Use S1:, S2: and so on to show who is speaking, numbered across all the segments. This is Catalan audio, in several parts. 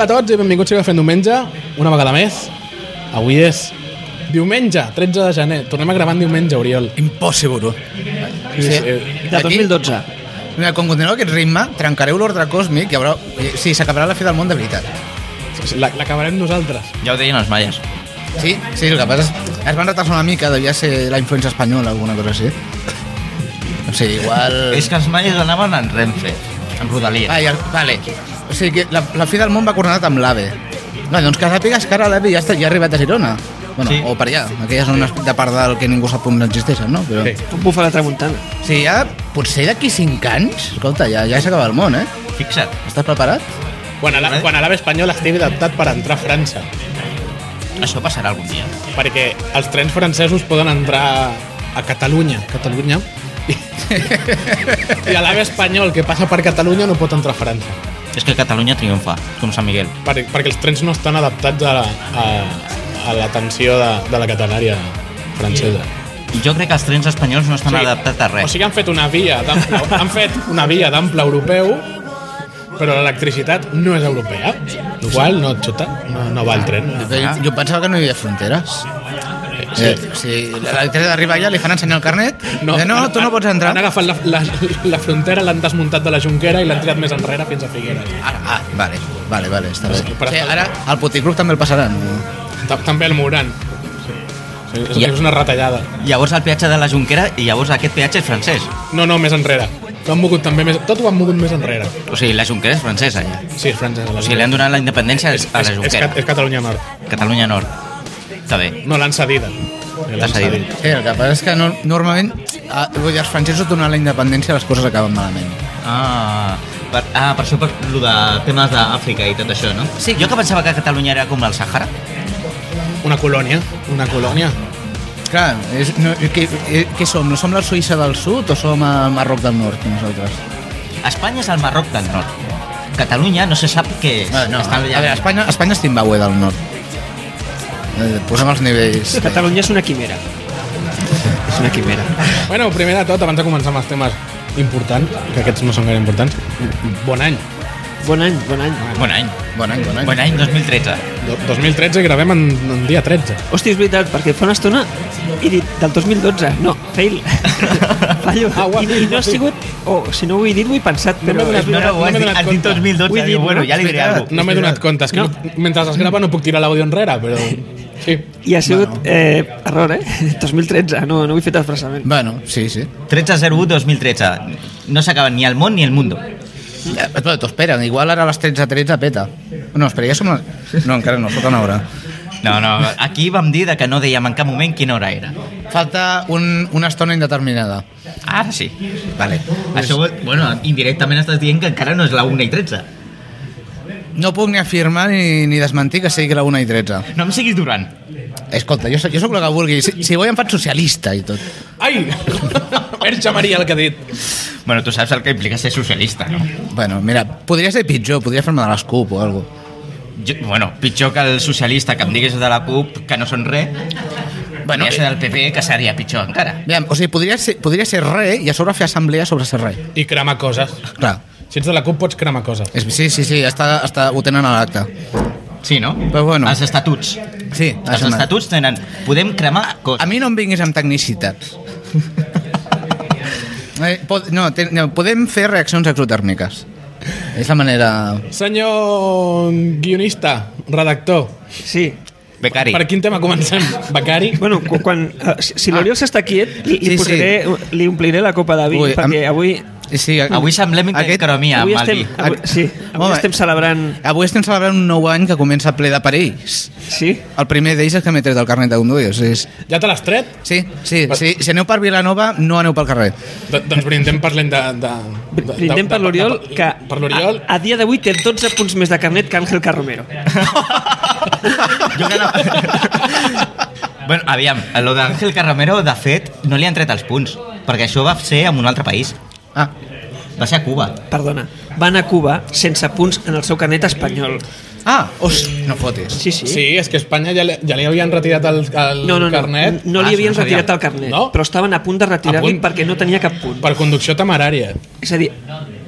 S1: a tots i benvinguts a Fent Diumenge, una vegada més. Avui és diumenge, 13 de gener. Tornem a gravar en diumenge, Oriol. Eh,
S2: Impossible. Eh,
S1: Sí, sí.
S3: De
S2: Aquí-
S3: 2012.
S2: Mira, quan continueu aquest ritme, trencareu l'ordre còsmic i haurà... eh, Sí, s'acabarà la fi del món de veritat.
S1: La- L'acabarem nosaltres.
S4: Ja ho deien els maies.
S2: Sí, sí, el que passa és es van retrasar una mica, devia ser la influència espanyola o alguna cosa així. O sigui, igual...
S4: És que els maies anaven en Renfe, en Rodalia.
S2: Ah, ja, vale. O sigui, que la, la fi del món va coronat amb l'AVE. No, doncs que sàpigues que ara l'AVE ja, està, ja ha arribat a Girona. Bueno,
S4: Sí.
S2: sí. o per allà, aquelles zones de part del que ningú sap on existeixen, no? Però...
S1: Sí.
S2: Sí.
S3: Un buf a la tramuntana.
S2: O sigui, ja, potser d'aquí 5 anys, escolta, ja, ja s'acaba el món, eh?
S4: Fixa't.
S2: Estàs preparat?
S1: Quan a la- quan a l'AVE espanyol estigui adaptat per entrar a França.
S4: Això passarà algun dia.
S1: Perquè els trens francesos poden entrar a Catalunya. Catalunya. I, i a l'AVE espanyol que passa per Catalunya no pot entrar a França.
S4: És que Catalunya triomfa, com Sant Miguel.
S1: Per, perquè els trens no estan adaptats a, la- a, a l'atenció de, de la catenària francesa.
S4: I jo crec que els trens espanyols no estan sí. adaptats a
S1: O
S4: res.
S1: sigui, han fet una via d'ample, han fet una via d'ample europeu, però l'electricitat no és europea. El qual no et xuta, no, no va el tren.
S2: Jo, jo pensava que no hi havia fronteres. Sí. Eh, o sigui, l'electric d'arribar allà li fan ensenyar el carnet. No, no, tu no pots entrar.
S1: Han agafat la, la, la frontera, l'han desmuntat de la Junquera i l'han tirat més enrere fins a Figueres.
S2: Ara, ah, vale, vale, vale, està bé.
S1: Sí, per-
S2: O sigui, ara al Puticlub també el passaran. no?
S1: Ta- També el Moran. Sí, és,
S4: Ja.
S1: és una retallada.
S4: Llavors el peatge de la Junquera i llavors aquest peatge és francès.
S1: No, no, més enrere. Ho han mogut també més... Tot ho han mogut més enrere.
S4: O sigui, la Junquera és francesa ja.
S1: Sí, és francesa. La
S4: O sigui, li han donat la independència
S1: és,
S4: a
S1: és,
S4: la
S1: és,
S4: Junquera.
S1: Cat- és Catalunya Nord.
S4: Catalunya Nord. Està bé.
S1: No, l'han cedida.
S4: L'han cedida.
S2: Sí, el que passa és que no, normalment ah, vull dir, els francesos donant la independència les coses acaben malament.
S4: Ah, per, ah, per això per lo de temes d'Àfrica i tot això, no? Sí. Jo que pensava que Catalunya era com el Sàhara.
S1: Una colònia. Una colònia.
S2: Clar, és, no, què, què som? No som la Suïssa del Sud o som a Marroc del Nord, nosaltres?
S4: Espanya és el Marroc del Nord. Catalunya no se sap què és.
S2: Ah, no,
S4: Està
S2: a
S4: allà.
S2: veure, Espanya, Espanya és Zimbabue del Nord. Eh, Posem els nivells...
S3: Catalunya és una quimera. És una quimera.
S1: Bueno, primer de tot, abans de començar amb els temes importants, que aquests no són gaire importants, bon any.
S3: Bon any, bon any.
S4: Bon any.
S2: Bon any, bon any.
S4: Bon any 2013.
S1: Do- 2013 i gravem en, en dia 13.
S3: Hòstia, és veritat, perquè fa una estona he dit del 2012. No, fail. Fallo.
S1: Ah, ho has
S3: I,
S1: dit,
S3: I no
S1: ho
S3: ha
S1: has dit.
S3: sigut... O oh, si no ho he dit, ho he pensat,
S1: m'he
S3: però...
S1: adonat.
S4: No,
S3: és veritat.
S4: no,
S1: No
S4: ho has
S1: m'he
S4: dit,
S1: donat
S4: has dit
S1: compte.
S4: 2012.
S3: Ho he
S4: Diu,
S3: dit,
S4: bueno,
S3: no?
S4: ja li diré
S2: Espera.
S4: alguna cosa.
S1: No m'he donat compte, és que
S3: No.
S1: no. mentre es grava no puc tirar l'àudio enrere, però... Sí.
S3: I ha sigut eh, error, eh? 2013, no, no ho he fet expressament.
S2: Bueno, sí, sí.
S4: 13-01-2013. No s'acaba ni el món ni el mundo.
S2: Ja, Eh, però t'ho esperen, igual ara a les 13.13 13 peta. No, espera, ja som... les- No, encara no, falta una hora.
S4: No, no, aquí vam dir de que no dèiem en cap moment quina hora era.
S2: Falta un, una estona indeterminada.
S4: Ara sí.
S2: Vale.
S4: Això, vol- bueno, indirectament estàs dient que encara no és la 1 i 13.
S2: No puc ni afirmar ni, ni desmentir que sigui la 1 i 13.
S4: No em siguis durant.
S2: Escolta, jo, sóc- jo sóc el que vulgui. Si, si vull em faig socialista i tot.
S1: Ai! Merxa Maria, el que ha dit.
S4: Bueno, tu saps el que implica ser socialista, no?
S2: Bueno, mira, podria ser pitjor, podria fer-me de les CUP o alguna
S4: Jo, bueno, pitjor que el socialista que em diguis de la CUP que no són res. Bueno, eh, ja sé del PP que seria pitjor encara.
S2: Mira, o sigui, podria ser, podria ser re i a sobre fer assemblea sobre ser re.
S1: I cremar coses.
S2: Clar.
S1: Si ets de la CUP pots cremar coses.
S2: És, sí, sí, sí, està, està, ho tenen a l'acte.
S4: Sí, no?
S2: Però bueno.
S4: Els estatuts.
S2: Sí,
S4: Els
S2: això mateix.
S4: estatuts tenen... Podem cremar coses.
S2: A mi no em vinguis amb tecnicitats. Eh, Pod, no, ten, no, podem fer reaccions exotèrmiques. És la manera...
S1: Senyor guionista, redactor,
S3: Sí.
S4: Becari.
S1: per quin tema comencem? Becari?
S3: Bueno, cu- quan, eh, si si
S1: Ah.
S3: l'Oriol s'està quiet, li,
S2: Sí, sí.
S3: li, posaré, li ompliré la copa de vi,
S2: Ui,
S3: perquè
S2: amb-
S3: avui...
S2: Eh, Sí, a-
S4: Avui semblem
S2: Aquest-
S4: microcromia,
S3: avui
S4: amb el
S3: estem,
S4: vi.
S3: avui,
S1: Ah,
S2: Aquest-
S3: sí, avui
S2: Home.
S3: estem celebrant...
S2: Avui estem celebrant un nou any que comença ple de perills.
S3: Sí?
S2: El primer d'ells és que m'he tret el carnet de conduir. O sigui, és...
S1: Ja te l'has tret?
S2: Sí, sí, sí, si aneu per Vilanova, no aneu pel carrer.
S1: Do- doncs brindem parlem de... de, de de-
S3: Brindem
S1: de-
S3: per l'Oriol,
S1: de-
S3: que Ah,
S1: Per l'Oriol...
S3: a, a dia d'avui té 12 punts més de carnet que Ángel Carromero.
S4: Jo que no... bueno, aviam, a lo d'Àngel Carramero, de fet, no li han tret els punts, perquè això va ser en un altre país.
S2: Ah,
S4: Va ser a Cuba.
S3: Perdona, va anar a Cuba sense punts en el seu carnet espanyol.
S2: ah os, no fotis.
S3: ah, Sí, sí.
S1: Sí, és que a Espanya ja li, ja li havien retirat el, el
S3: No, no, no,
S1: carnet
S3: no
S4: Ah,
S3: li
S4: sí,
S3: havien
S4: no sabia.
S3: retirat el carnet,
S1: No?
S3: però estaven a punt de
S1: A
S3: retirar-li
S1: punt?
S3: perquè no tenia cap punt.
S1: per conducció temerària.
S3: És a dir,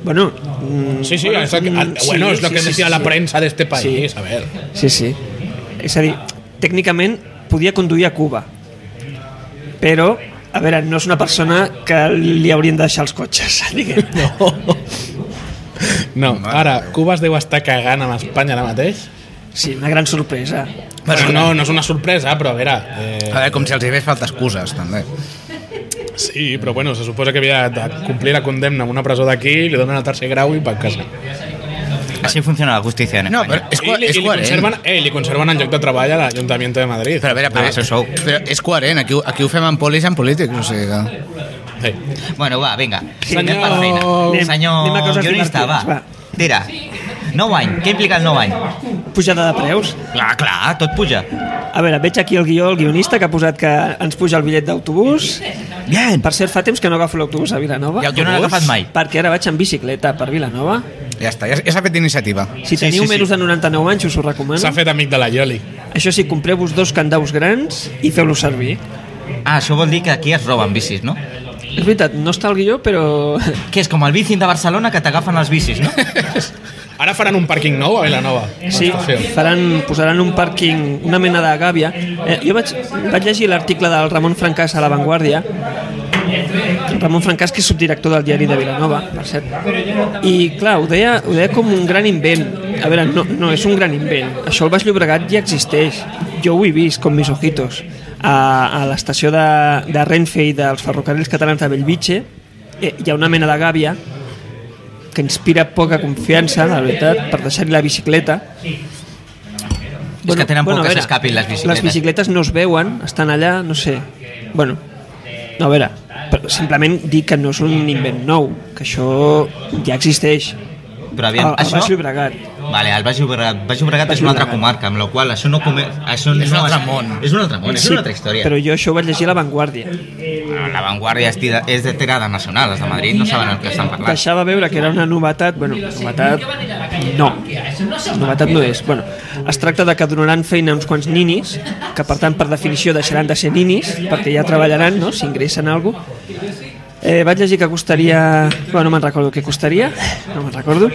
S3: Bueno, mm,
S1: Sí, sí, eso que-
S3: mm,
S1: bueno,
S3: sí,
S1: es lo
S3: sí,
S1: que
S3: sí,
S1: decía
S3: sí,
S1: la
S3: sí.
S1: prensa de este país, a ver.
S3: Sí, sí. És a dir, tècnicament podia conduir a Cuba, però, a veure, no és una persona que li haurien de deixar els cotxes, diguem.
S1: No. No, ara, Cuba es deu estar cagant amb Espanya ara mateix.
S3: Sí, una gran sorpresa.
S1: Bueno, no, no és una sorpresa, però a veure... Eh,
S2: A veure, com si els hi fes falta excuses, també.
S1: sí, però bueno, se suposa que havia de complir la condemna en una presó d'aquí, li donen el tercer grau i va a casa.
S4: Así funciona la justicia en
S2: No, però
S4: España.
S2: és,
S1: I
S2: cohe-
S1: li,
S2: és
S1: i li,
S2: coherent.
S1: conserven, eh, i li conserven el lloc de treball a l'Ajuntament de Madrid.
S2: Però a veure, però,
S4: Ah, això sou.
S2: però és coherent. Aquí, ho- aquí ho fem amb polis i amb polítics, o sigui que...
S1: Sí.
S4: Bueno, va, vinga.
S1: Senyor-
S4: Anem per feina.
S3: Anem-
S4: Senyor
S3: anem a coses
S4: guionista, va. va.
S3: divertides, va.
S4: Tira. Nou any. Què implica el nou any?
S3: Pujada de preus.
S4: Clar, clar, tot puja.
S3: A veure, veig aquí el guió, el guionista, que ha posat que ens puja el bitllet d'autobús.
S4: Bien.
S3: Per cert, fa temps que no agafo l'autobús a Vilanova.
S2: I
S4: Jo no l'he agafat mai.
S3: Perquè ara vaig en bicicleta per Vilanova.
S2: Ja està, ja, ja s'ha fet iniciativa.
S3: Si teniu
S4: sí, sí.
S3: menys de 99 anys, us ho recomano.
S1: S'ha fet amic de la Ioli.
S3: Això sí, compreu-vos dos candaus grans i feu-los servir.
S4: Ah, això vol dir que aquí es roben bicis, no?
S3: És veritat, no està el guió, però...
S4: Que és com el bici de Barcelona que t'agafen els bicis, no?
S1: Ara faran un pàrquing nou a Vilanova.
S3: Sí,
S1: L'estació.
S3: faran, posaran un pàrquing, una mena de gàbia. Eh, jo vaig, vaig llegir l'article del Ramon Francàs a La Vanguardia, Ramon Francàs, que és subdirector del diari de Vilanova, per cert. I, clar, ho deia, ho deia com un gran invent. A veure, no, no és un gran invent. Això al Baix Llobregat ja existeix. Jo ho he vist, com mis ojitos. A, a l'estació de, de Renfe i dels ferrocarrils catalans de Bellvitge eh, hi ha una mena de gàbia que inspira poca confiança, la veritat, per deixar-hi la bicicleta.
S4: que tenen por
S3: a
S4: que
S3: veure,
S4: s'escapin les bicicletes.
S3: Les bicicletes no es veuen, estan allà, no sé. Bueno, no, a veure, però simplement dir que no és un invent nou, que això ja existeix.
S4: Però aviam,
S3: Al- al
S4: això...
S3: Ah, Baix Llobregat.
S4: Vale, el Baix Llobregat, Baix Llobregat és
S3: Baix
S4: una altra
S3: Llobregat.
S4: comarca, amb la qual cosa això no... Come... Això
S2: És un
S4: no
S2: altre món.
S4: És un altre món, és una altra història.
S3: Però jo això ho vaig llegir a La Vanguardia.
S4: La Vanguardia és, tira, és de tirada nacional, els de Madrid no saben el que estan parlant.
S3: Deixava veure que era una novetat, bueno, novetat no, novetat no és. Bueno, es tracta de que donaran feina a uns quants ninis, que per tant per definició deixaran de ser ninis, perquè ja treballaran, no?, s'ingressen a algú. Eh, vaig llegir que costaria... Bueno, no me'n recordo què costaria, no me'n recordo,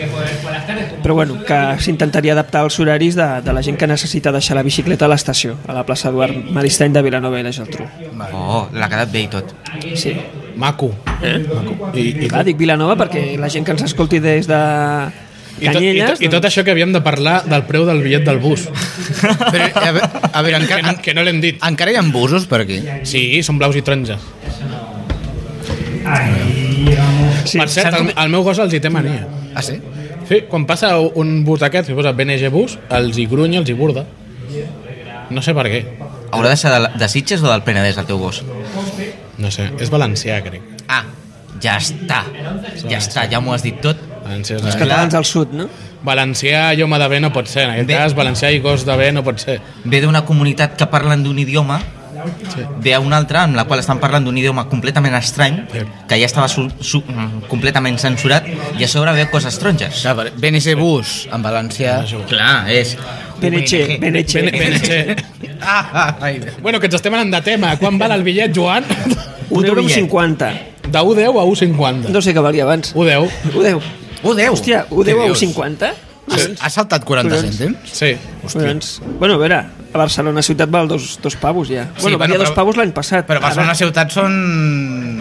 S3: però bueno, que s'intentaria adaptar als horaris de, de la gent que necessita deixar la bicicleta a l'estació, a la plaça Eduard Maristany de Vilanova i la Geltrú.
S4: Oh, l'ha quedat bé i tot.
S3: Sí,
S1: Maco. Eh? Maco. I, i,
S3: clar, dic Vilanova perquè la gent que ens escolti des de
S1: i, tot, i,
S3: Canyelles... doncs,
S1: tot, I tot això que havíem de parlar del preu del bitllet del bus.
S2: Però, a veure, a veure
S1: Que
S2: encara,
S1: no, que no l'hem dit.
S2: encara hi ha busos per aquí.
S1: Sí, són blaus i taronges. Sí, per cert, el, el meu gos els hi té mania.
S2: Ah, sí?
S1: Sí, quan passa un bus d'aquests, que posa BNG Bus, els hi grunya, els hi burda. No sé per què.
S4: Haurà de ser de, de Sitges o del Penedès, el teu gos?
S1: No sé, és valencià, crec.
S4: Ah, ja està. Ja està, ja m'ho has dit tot.
S1: Valencià,
S3: Els
S1: és...
S3: catalans al sud, no?
S1: valencià i home de bé no pot ser, en aquest
S4: Bé.
S1: cas, valencià i gos de bé no pot ser.
S4: Ve d'una comunitat que parlen d'un idioma
S1: Sí.
S4: d'una altra amb la qual estan parlant d'un idioma completament estrany
S1: Sí.
S4: que ja estava su, su, mm, completament censurat i a sobre veu coses tronges.
S2: Clar, per- BNC Bus, en valencià...
S4: Clar, és...
S3: Beneche,
S4: ONG.
S3: Beneche.
S1: Bene- BNG.
S2: Ah, ah, ai.
S1: Bueno, que ens estem anant de tema. Quan val el bitllet, Joan?
S3: Un euro amb
S4: bitllet.
S3: 50.
S1: De 1,10 a 1,50.
S3: No sé què valia
S1: 1,10.
S3: abans. Un 10.
S2: Ho deu.
S3: Hòstia, un 10 a un
S2: Dius.
S3: 50?
S2: Ha saltat 40
S3: Collons.
S2: cèntims?
S1: Sí.
S3: Collons. Doncs, Bueno, a veure, a Barcelona ciutat val dos, dos pavos ja.
S2: Sí, bueno,
S3: bueno, valia dos
S2: però-
S3: pavos l'any passat.
S2: Però Barcelona ciutat són...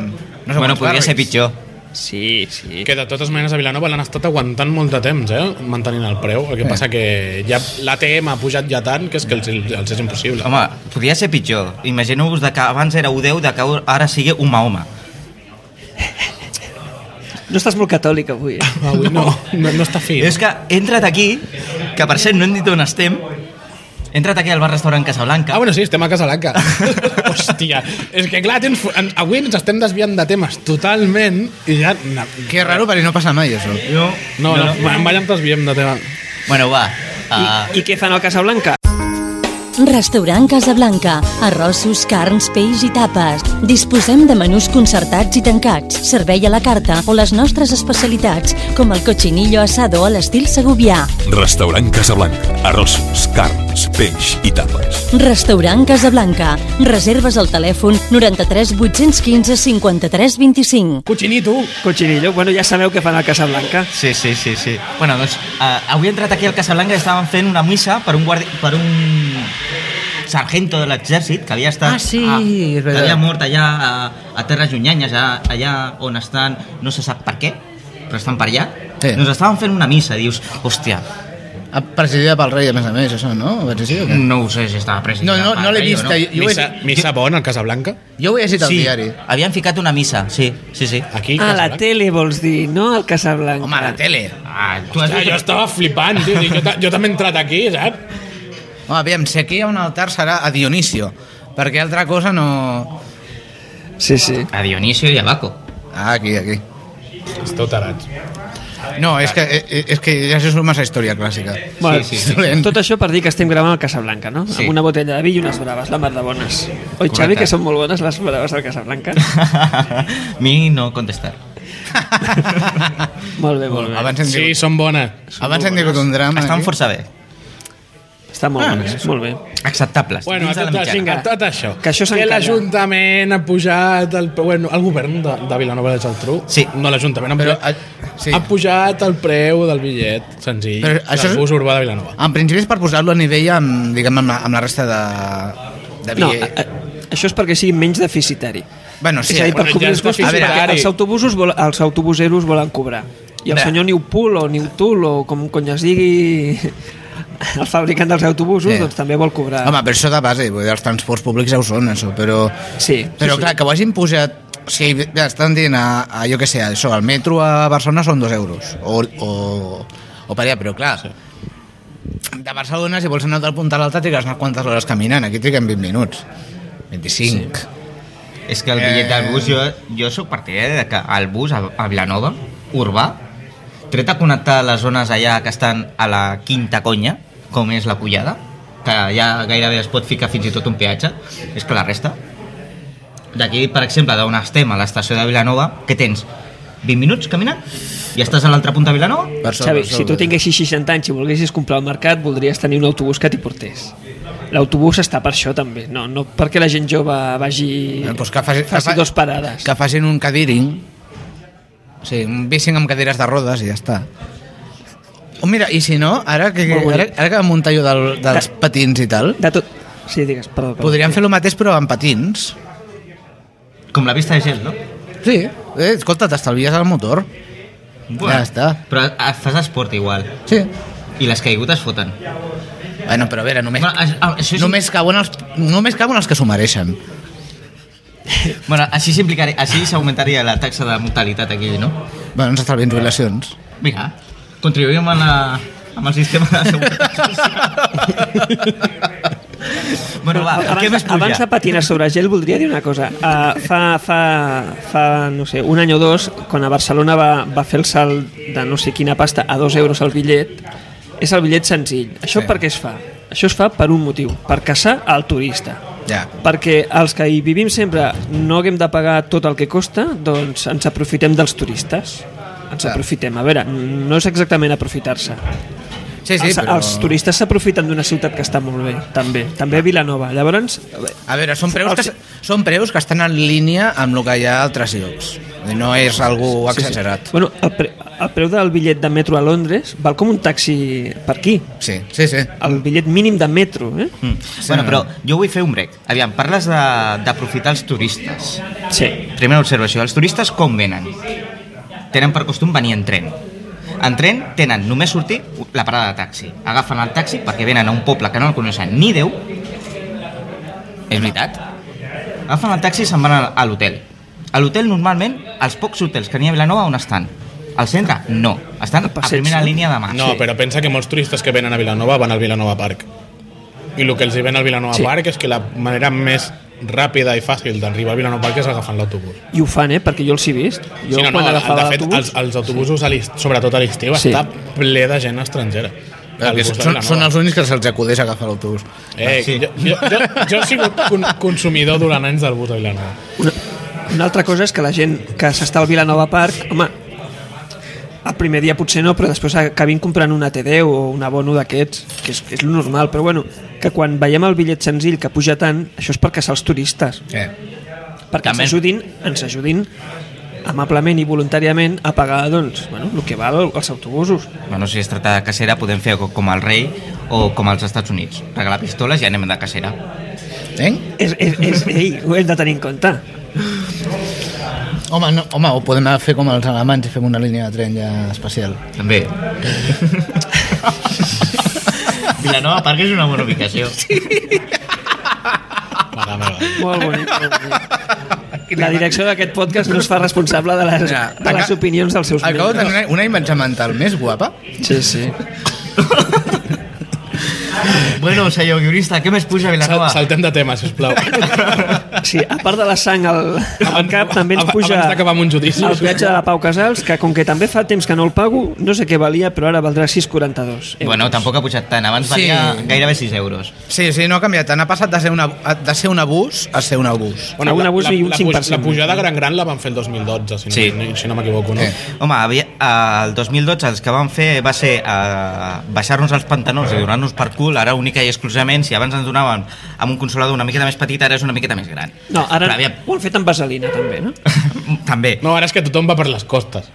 S2: No sé
S4: Bueno,
S2: quants
S4: podria
S2: barris.
S4: ser pitjor.
S3: Ara... Sí, sí.
S1: Que de totes maneres a Vilanova l'han estat aguantant molt de temps, eh? Mantenint el preu. El que passa que ja l'ATM ha pujat ja tant que és que els, els és impossible.
S4: Home, podria ser pitjor. Imagineu-vos de que abans era 1,10, de que ara sigui un Mahoma.
S3: No estàs molt catòlic avui, eh?
S1: Avui no, no, no està fi.
S4: És que he entrat aquí, que per cert no hem dit on estem, he entrat aquí al bar-restaurant Casablanca.
S1: Ah, bueno, sí, estem a Casalanca. Hòstia, és que clar, tens, en- avui ens estem desviant de temes totalment i ja... No,
S2: Que raro, perquè no passa mai, això.
S4: No,
S1: no, no, no. en Valla ens desviem de tema.
S4: Bueno, va. Uh,
S3: I, I què fan al Casablanca?
S5: Restaurant Casablanca. Arrossos, carns, peix i tapes. Disposem de menús concertats i tancats, servei a la carta o les nostres especialitats, com el cochinillo asado a l'estil segubià.
S6: Restaurant Casablanca. Arrossos, carn, carns, peix i tapes.
S5: Restaurant Casablanca. Reserves al telèfon 93 815 53 25.
S1: Cochinito!
S3: Cochinillo, bueno, ja sabeu què fan al Casablanca.
S4: Sí, sí, sí, sí. Bueno, doncs, eh, avui he entrat aquí al Casablanca i estàvem fent una missa per un, guardi... per un sargento de l'exèrcit que havia estat...
S2: Ah, sí,
S4: a-
S2: és
S4: que
S2: veritat.
S4: havia mort allà a, a Terres Llunyanyes, a, allà on estan, no se sap per què, però estan per allà.
S2: Sí.
S4: Doncs estàvem fent una missa, dius, hòstia,
S2: Ah, Presidida pel rei, a més a més, això, no? Ho vaig dir o què?
S1: Mm.
S4: no ho sé si estava presa.
S2: No, no, no l'he vista.
S4: No.
S2: Jo, jo,
S1: Missa,
S2: ho he,
S1: missa bona al Casablanca?
S2: jo ho he llegit al
S4: sí,
S2: diari.
S4: havien ficat una missa, sí, sí, sí.
S1: Aquí,
S3: A Ah, la
S1: Casablanca?
S3: tele vols dir, no al Casablanca.
S2: Home, a la tele.
S4: Ah, tu has
S1: Ja, jo
S4: vist...
S1: estava flipant, tio. Dic, Jo, ta- jo també he entrat aquí, saps?
S2: Home, aviam, si aquí hi ha un altar serà a Dionisio, perquè altra cosa no...
S3: Sí, sí.
S4: A Dionisio i a Baco.
S2: Ah, aquí, aquí.
S1: Esteu tarats.
S2: No, és que, eh, és que ja se suma a història clàssica.
S3: Bueno,
S4: sí,
S2: sí.
S3: Tot això per dir que estem gravant al Casablanca, no?
S4: Sí.
S3: Amb una botella de vi i unes braves, la mar de bones. Oi, Xavi,
S4: Correcte.
S3: que són molt bones les braves al Casablanca?
S4: Mi no contestar.
S3: molt bé, molt bé.
S2: Abans hem
S1: Sí,
S2: tingut,
S1: són bones.
S2: abans hem tingut un drama. eh?
S4: Estan
S2: aquí.
S4: força bé.
S3: Està molt ah, bones, molt bé.
S4: Acceptables.
S1: Bueno, a
S4: dins de
S1: tot,
S4: la
S1: això,
S4: mitjana.
S1: a tot això.
S3: Que això
S1: que
S3: s'encalla.
S1: l'Ajuntament ha pujat... El, bueno, el govern de, de Vilanova i la Geltrú.
S4: Sí.
S1: No, l'Ajuntament.
S2: Però,
S1: Però,
S2: a, sí.
S1: Ha pujat el preu del bitllet senzill
S2: Però
S1: això
S2: això
S1: del
S2: és-
S1: bus urbà de Vilanova.
S2: En principi és per posar-lo a nivell amb, diguem, amb, la, amb la resta de... de
S3: No,
S2: vi-
S3: eh, a, a, això és perquè sigui menys deficitari.
S2: bueno,
S3: Sí,
S2: sí,
S3: és a dir, per
S1: bueno,
S3: cobrir
S1: ja
S3: els
S1: està
S3: costos,
S2: fixat.
S3: perquè els autobusos volen, els autobuseros volen cobrar. I el
S2: Bé.
S3: senyor Newpool o Newtool o com cony es digui el fabricant dels autobusos,
S2: Sí.
S3: doncs també vol cobrar.
S2: Home, però això de base, vull dir, els transports públics ja ho són, això, però...
S3: Sí,
S2: Però
S3: sí, sí.
S2: clar, que ho hagin posat... O sigui, ja estan dient, a, a, jo què sé, això, el metro a Barcelona són dos euros, o, o, o per allà, però clar... Sí. De Barcelona, si vols anar del punt a l'altre, trigues unes quantes hores caminant, aquí triguem 20 minuts. 25. Sí.
S4: És que el bitllet del bus, jo, jo sóc partidari de que el bus a, a Vilanova, urbà, tret a connectar les zones allà que estan a la quinta conya, com és la Collada, que ja gairebé es pot ficar fins i tot un peatge, és que la resta... D'aquí, per exemple, d'on estem, a l'estació de Vilanova, que tens 20 minuts caminant i estàs a l'altra punta de Vilanova?
S3: Xavi, si tu tinguessis 60 anys i volguessis comprar al mercat, voldries tenir un autobús que t'hi portés. L'autobús està per això també, no, no perquè la gent jove vagi...
S2: Eh, doncs que faci- que
S3: faci
S2: fa-
S3: dos parades.
S2: Que facin un cadiring, o sigui, un bicing amb cadires de rodes i ja està. Oh, mira, i si no, ara que,
S3: Molt bonic.
S2: ara, ara que em muntar jo del, dels patins i tal,
S3: De tot... Sí, digues, perdó. perdó
S2: Podríem
S3: sí.
S2: fer el mateix però amb patins.
S4: Com la vista de gel, no?
S2: Sí. Eh, escolta, t'estalvies el motor. Ja està.
S4: Però eh, fas esport igual.
S2: Sí.
S4: I les caigudes foten.
S2: Bueno, però a veure, només,
S4: Bueno, a- a- això és-
S2: només, cauen els, només cauen els que s'ho mereixen.
S4: Bueno, així s'implicaria, així s'augmentaria la taxa de mortalitat aquí, no?
S2: Bueno, ens estalvien violacions.
S4: Vinga, contribuïm a la, amb el sistema de seguretat social. bueno, va,
S3: abans,
S4: què més puja?
S3: abans de patinar sobre gel voldria dir una cosa uh, fa, fa, fa no sé, un any o dos quan a Barcelona va, va fer el salt de no sé quina pasta a dos euros al bitllet és el bitllet senzill això
S2: Sí.
S3: per què es fa? això es fa per un motiu per caçar el turista
S2: Ja.
S3: perquè els que hi vivim sempre no haguem de pagar tot el que costa doncs ens aprofitem dels turistes ens
S2: Clar.
S3: aprofitem, a veure, no és exactament aprofitar-se
S2: Sí, sí,
S3: els,
S2: però...
S3: els turistes s'aprofiten d'una ciutat que està molt bé, també, també a Vilanova. Llavors,
S2: A veure, són preus, que, són preus que estan en línia amb el que hi ha a altres llocs. No és algú exagerat.
S3: bueno, el, pre, el preu del bitllet de metro a Londres val com un taxi per aquí,
S2: Sí, sí, sí.
S3: el bitllet mínim de metro, eh?
S4: Mm. Bueno, però jo vull fer un break. Aviam, parles de- d'aprofitar els turistes.
S3: Sí.
S4: Primera observació, els turistes com venen? Tenen per costum venir en tren. En tren tenen només sortir la parada de taxi. Agafen el taxi perquè venen a un poble que no el coneixen ni Déu. És veritat. Agafen el taxi i se'n van a- a l'hotel. A l'hotel normalment, els pocs hotels que n'hi ha a Vilanova on estan? Al centre? No. Estan a
S3: passeig,
S4: primera
S3: no?
S4: línia de mar.
S1: No, però pensa que molts turistes que venen a Vilanova van al Vilanova Park. I el que els hi ven al Vilanova
S3: Sí.
S1: sí. Park és que la manera més ràpida i fàcil d'arribar al Vilanova Park és agafant l'autobús.
S3: I ho fan, eh? Perquè jo els he vist. Jo
S1: Sí, no, no,
S3: quan
S1: de
S3: agafava
S1: fet,
S3: l'autobús...
S1: els, els autobusos, a l'est- sobretot a l'estiu,
S3: Sí.
S1: sí. està ple de gent estrangera. El
S2: Perquè
S1: bus de
S2: Són,
S1: Vilanova.
S2: són els únics que se'ls acudeix a agafar l'autobús. Ah,
S1: Eh,
S4: Sí.
S1: sí. jo, jo, jo, jo he sigut con, consumidor durant anys del bus a Vilanova.
S3: Una, una altra cosa és que la gent que s'està al Vilanova Park, home, el primer dia potser no, però després acabin comprant una T10 o un abono d'aquests, que és, és lo normal, però bueno, que quan veiem el bitllet senzill que puja tant, això és per caçar els turistes,
S2: Eh.
S3: perquè
S4: També.
S3: ens ajudin, ens ajudin amablement i voluntàriament a pagar doncs, bueno, el que val els autobusos.
S4: Bueno, si es tracta de cacera, podem fer co- com el rei o com als Estats Units. Regalar pistoles i anem de cacera.
S2: Eh?
S3: És, és, és, ei, ho hem de tenir en compte.
S2: Home, no, home, ho podem fer com els alemans i fem una línia de tren ja especial.
S4: També. Vilanova Park és una bona ubicació.
S1: Mare meva.
S3: Molt bonic, molt bonic. La direcció d'aquest podcast no es fa responsable de les, de les opinions dels seus
S2: Acabo de
S3: membres.
S2: tenir una, una imatge mental més guapa.
S3: Sí, sí.
S4: bueno, senyor guionista, què més puja a
S1: Sal,
S4: Vilanova?
S1: saltem de tema, sisplau.
S3: Sí, a part de la sang al, al cap, també ens
S1: Ab-
S3: puja
S1: Abans d'acabar amb un judici.
S3: el viatge de la Pau Casals, que com que també fa temps que no el pago, no sé què valia, però ara valdrà 6,42. euros.
S4: Bueno, tampoc ha pujat tant. Abans
S2: Sí.
S4: valia gairebé 6 euros.
S2: Sí, sí, no ha canviat tant. Ha passat de ser, una, de ser un abús a ser un abús.
S3: A un
S1: la-
S3: abús
S1: la,
S3: i un
S1: la,
S3: 5%.
S1: La pujada gran gran la van fer el 2012, si no,
S4: Sí.
S1: sí. si no m'equivoco. No?
S2: Eh.
S4: Home, havia, eh, el 2012 els que van fer va ser eh, baixar-nos als pantanons i donar-nos per cul, ara única i exclusivament, si abans ens donaven amb un consolador una miqueta més petit, ara és una miqueta més gran.
S3: No, ara
S4: Però havia...
S3: ho han fet amb vaselina, també, no?
S4: També,
S1: No, ara és que tothom va per les costes.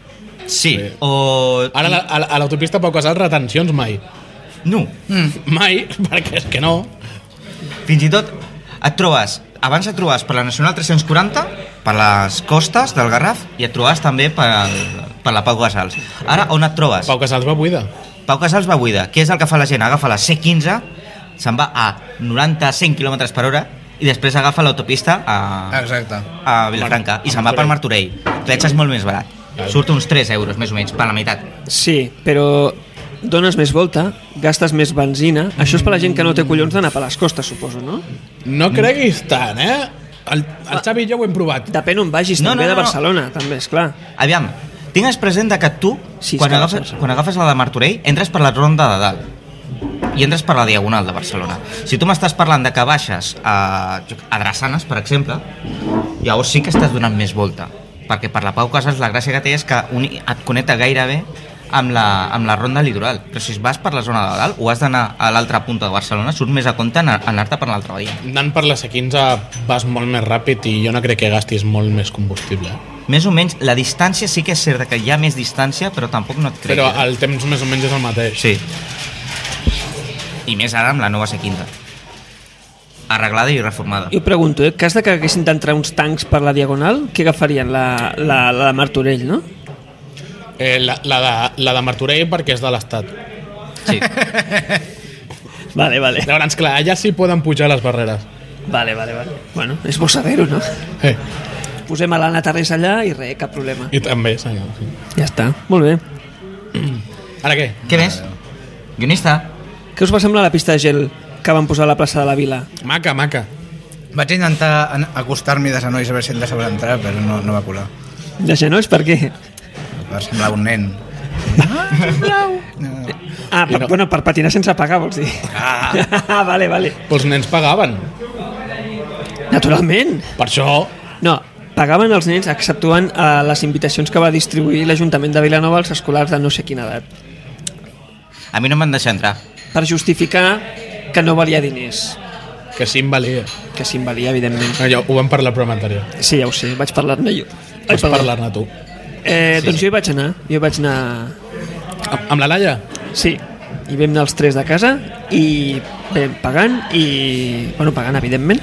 S4: sí. O...
S1: Ara la- a la- a l'autopista Pau Casals retencions mai.
S4: No,
S1: Mai, perquè és que no.
S4: fins i tot et trobes abans et trobaves per la Nacional 340 per les costes del Garraf i et trobaves també per, per la Pau Casals ara on et trobes?
S1: Pau Casals va buida.
S4: Pau Casals va buida què és el que fa la gent? agafa la C15 se'n va a 90-100 km per hora i després agafa l'autopista a,
S2: Exacte.
S4: a Vilafranca i se'n va per Martorell Fletxa és molt més barat surt uns 3 euros més o menys per la meitat
S3: Sí, però dones més volta, gastes més benzina... Això és per la gent que no té collons d'anar per les costes, suposo, no?
S1: No creguis tant, eh? El, el Xavi i jo ho hem provat.
S3: Depèn on vagis,
S4: No,
S3: no, també
S4: no, no.
S3: no, de Barcelona, també, és clar.
S4: aviam tingues present de que tu
S3: Sí, és
S4: quan,
S3: que no
S4: agafes,
S3: se'n sap.
S4: quan agafes la de Martorell entres per la ronda de dalt i entres per la Diagonal de Barcelona. Si tu m'estàs parlant de que baixes a, jo- a Drassanes, per exemple, llavors sí que estàs donant més volta. Perquè per la Pau Casas la gràcia que té és que uni, et connecta gairebé amb la, amb la ronda litoral. Però si vas per la zona de dalt o has d'anar a l'altra punta de Barcelona, surt més a compte anar- anar-te per l'altra via.
S1: Anant per la C15 vas molt més ràpid i jo no crec que gastis molt més combustible. Eh?
S4: Més o menys, la distància sí que és cert que hi ha més distància, però tampoc no et crec.
S1: Però el temps més o menys és el mateix.
S4: Sí. I més ara amb la nova C15. Arreglada i reformada.
S3: Jo pregunto, eh, en cas de que haguessin d'entrar uns tancs per la Diagonal, què agafarien? La, la, la de Martorell, no?
S1: Eh, la, la, de, la de Martorell perquè és de l'Estat.
S4: Sí.
S3: Vale, vale.
S1: Llavors, clar, allà sí poden pujar les barreres.
S3: Vale, vale, vale. Bueno, és bo saber-ho, no?
S1: Eh,
S3: Posem a l'Anna Tarrés allà i res, cap problema.
S1: I també, senyor. Sí.
S3: Ja està. Molt bé.
S1: Ara què?
S4: Què més? Guionista?
S3: Què us va semblar la pista de gel que van posar a la plaça de la Vila?
S1: Maca, maca.
S2: Vaig intentar an- acostar-m'hi de genolls a veure si em deixava entrar, però no, no va colar.
S3: De genolls, per què?
S2: Va semblar un nen.
S3: Ah, per,
S1: No.
S3: no. bueno, per patinar sense pagar, vols dir? Ah, vale, vale.
S1: Els nens pagaven.
S3: Naturalment.
S1: Per això...
S3: No, pagaven els nens exceptuant eh, les invitacions que va distribuir l'Ajuntament de Vilanova als escolars de no sé quina edat.
S4: A mi no m'han deixat entrar.
S3: Per justificar que no valia diners.
S1: Que sí, em valia.
S3: Que sí, en valia, evidentment.
S1: Allò, ho vam parlar al programa anterior.
S3: Sí, ja ho sé, vaig parlar-ne jo.
S1: Pots
S3: parlar-
S1: parlar-ne tu.
S3: Eh, doncs jo hi vaig anar, jo hi vaig anar...
S1: Amb amb la Laia?
S3: Sí, i vam anar els tres de casa i vam pagant i... Bueno, pagant, evidentment.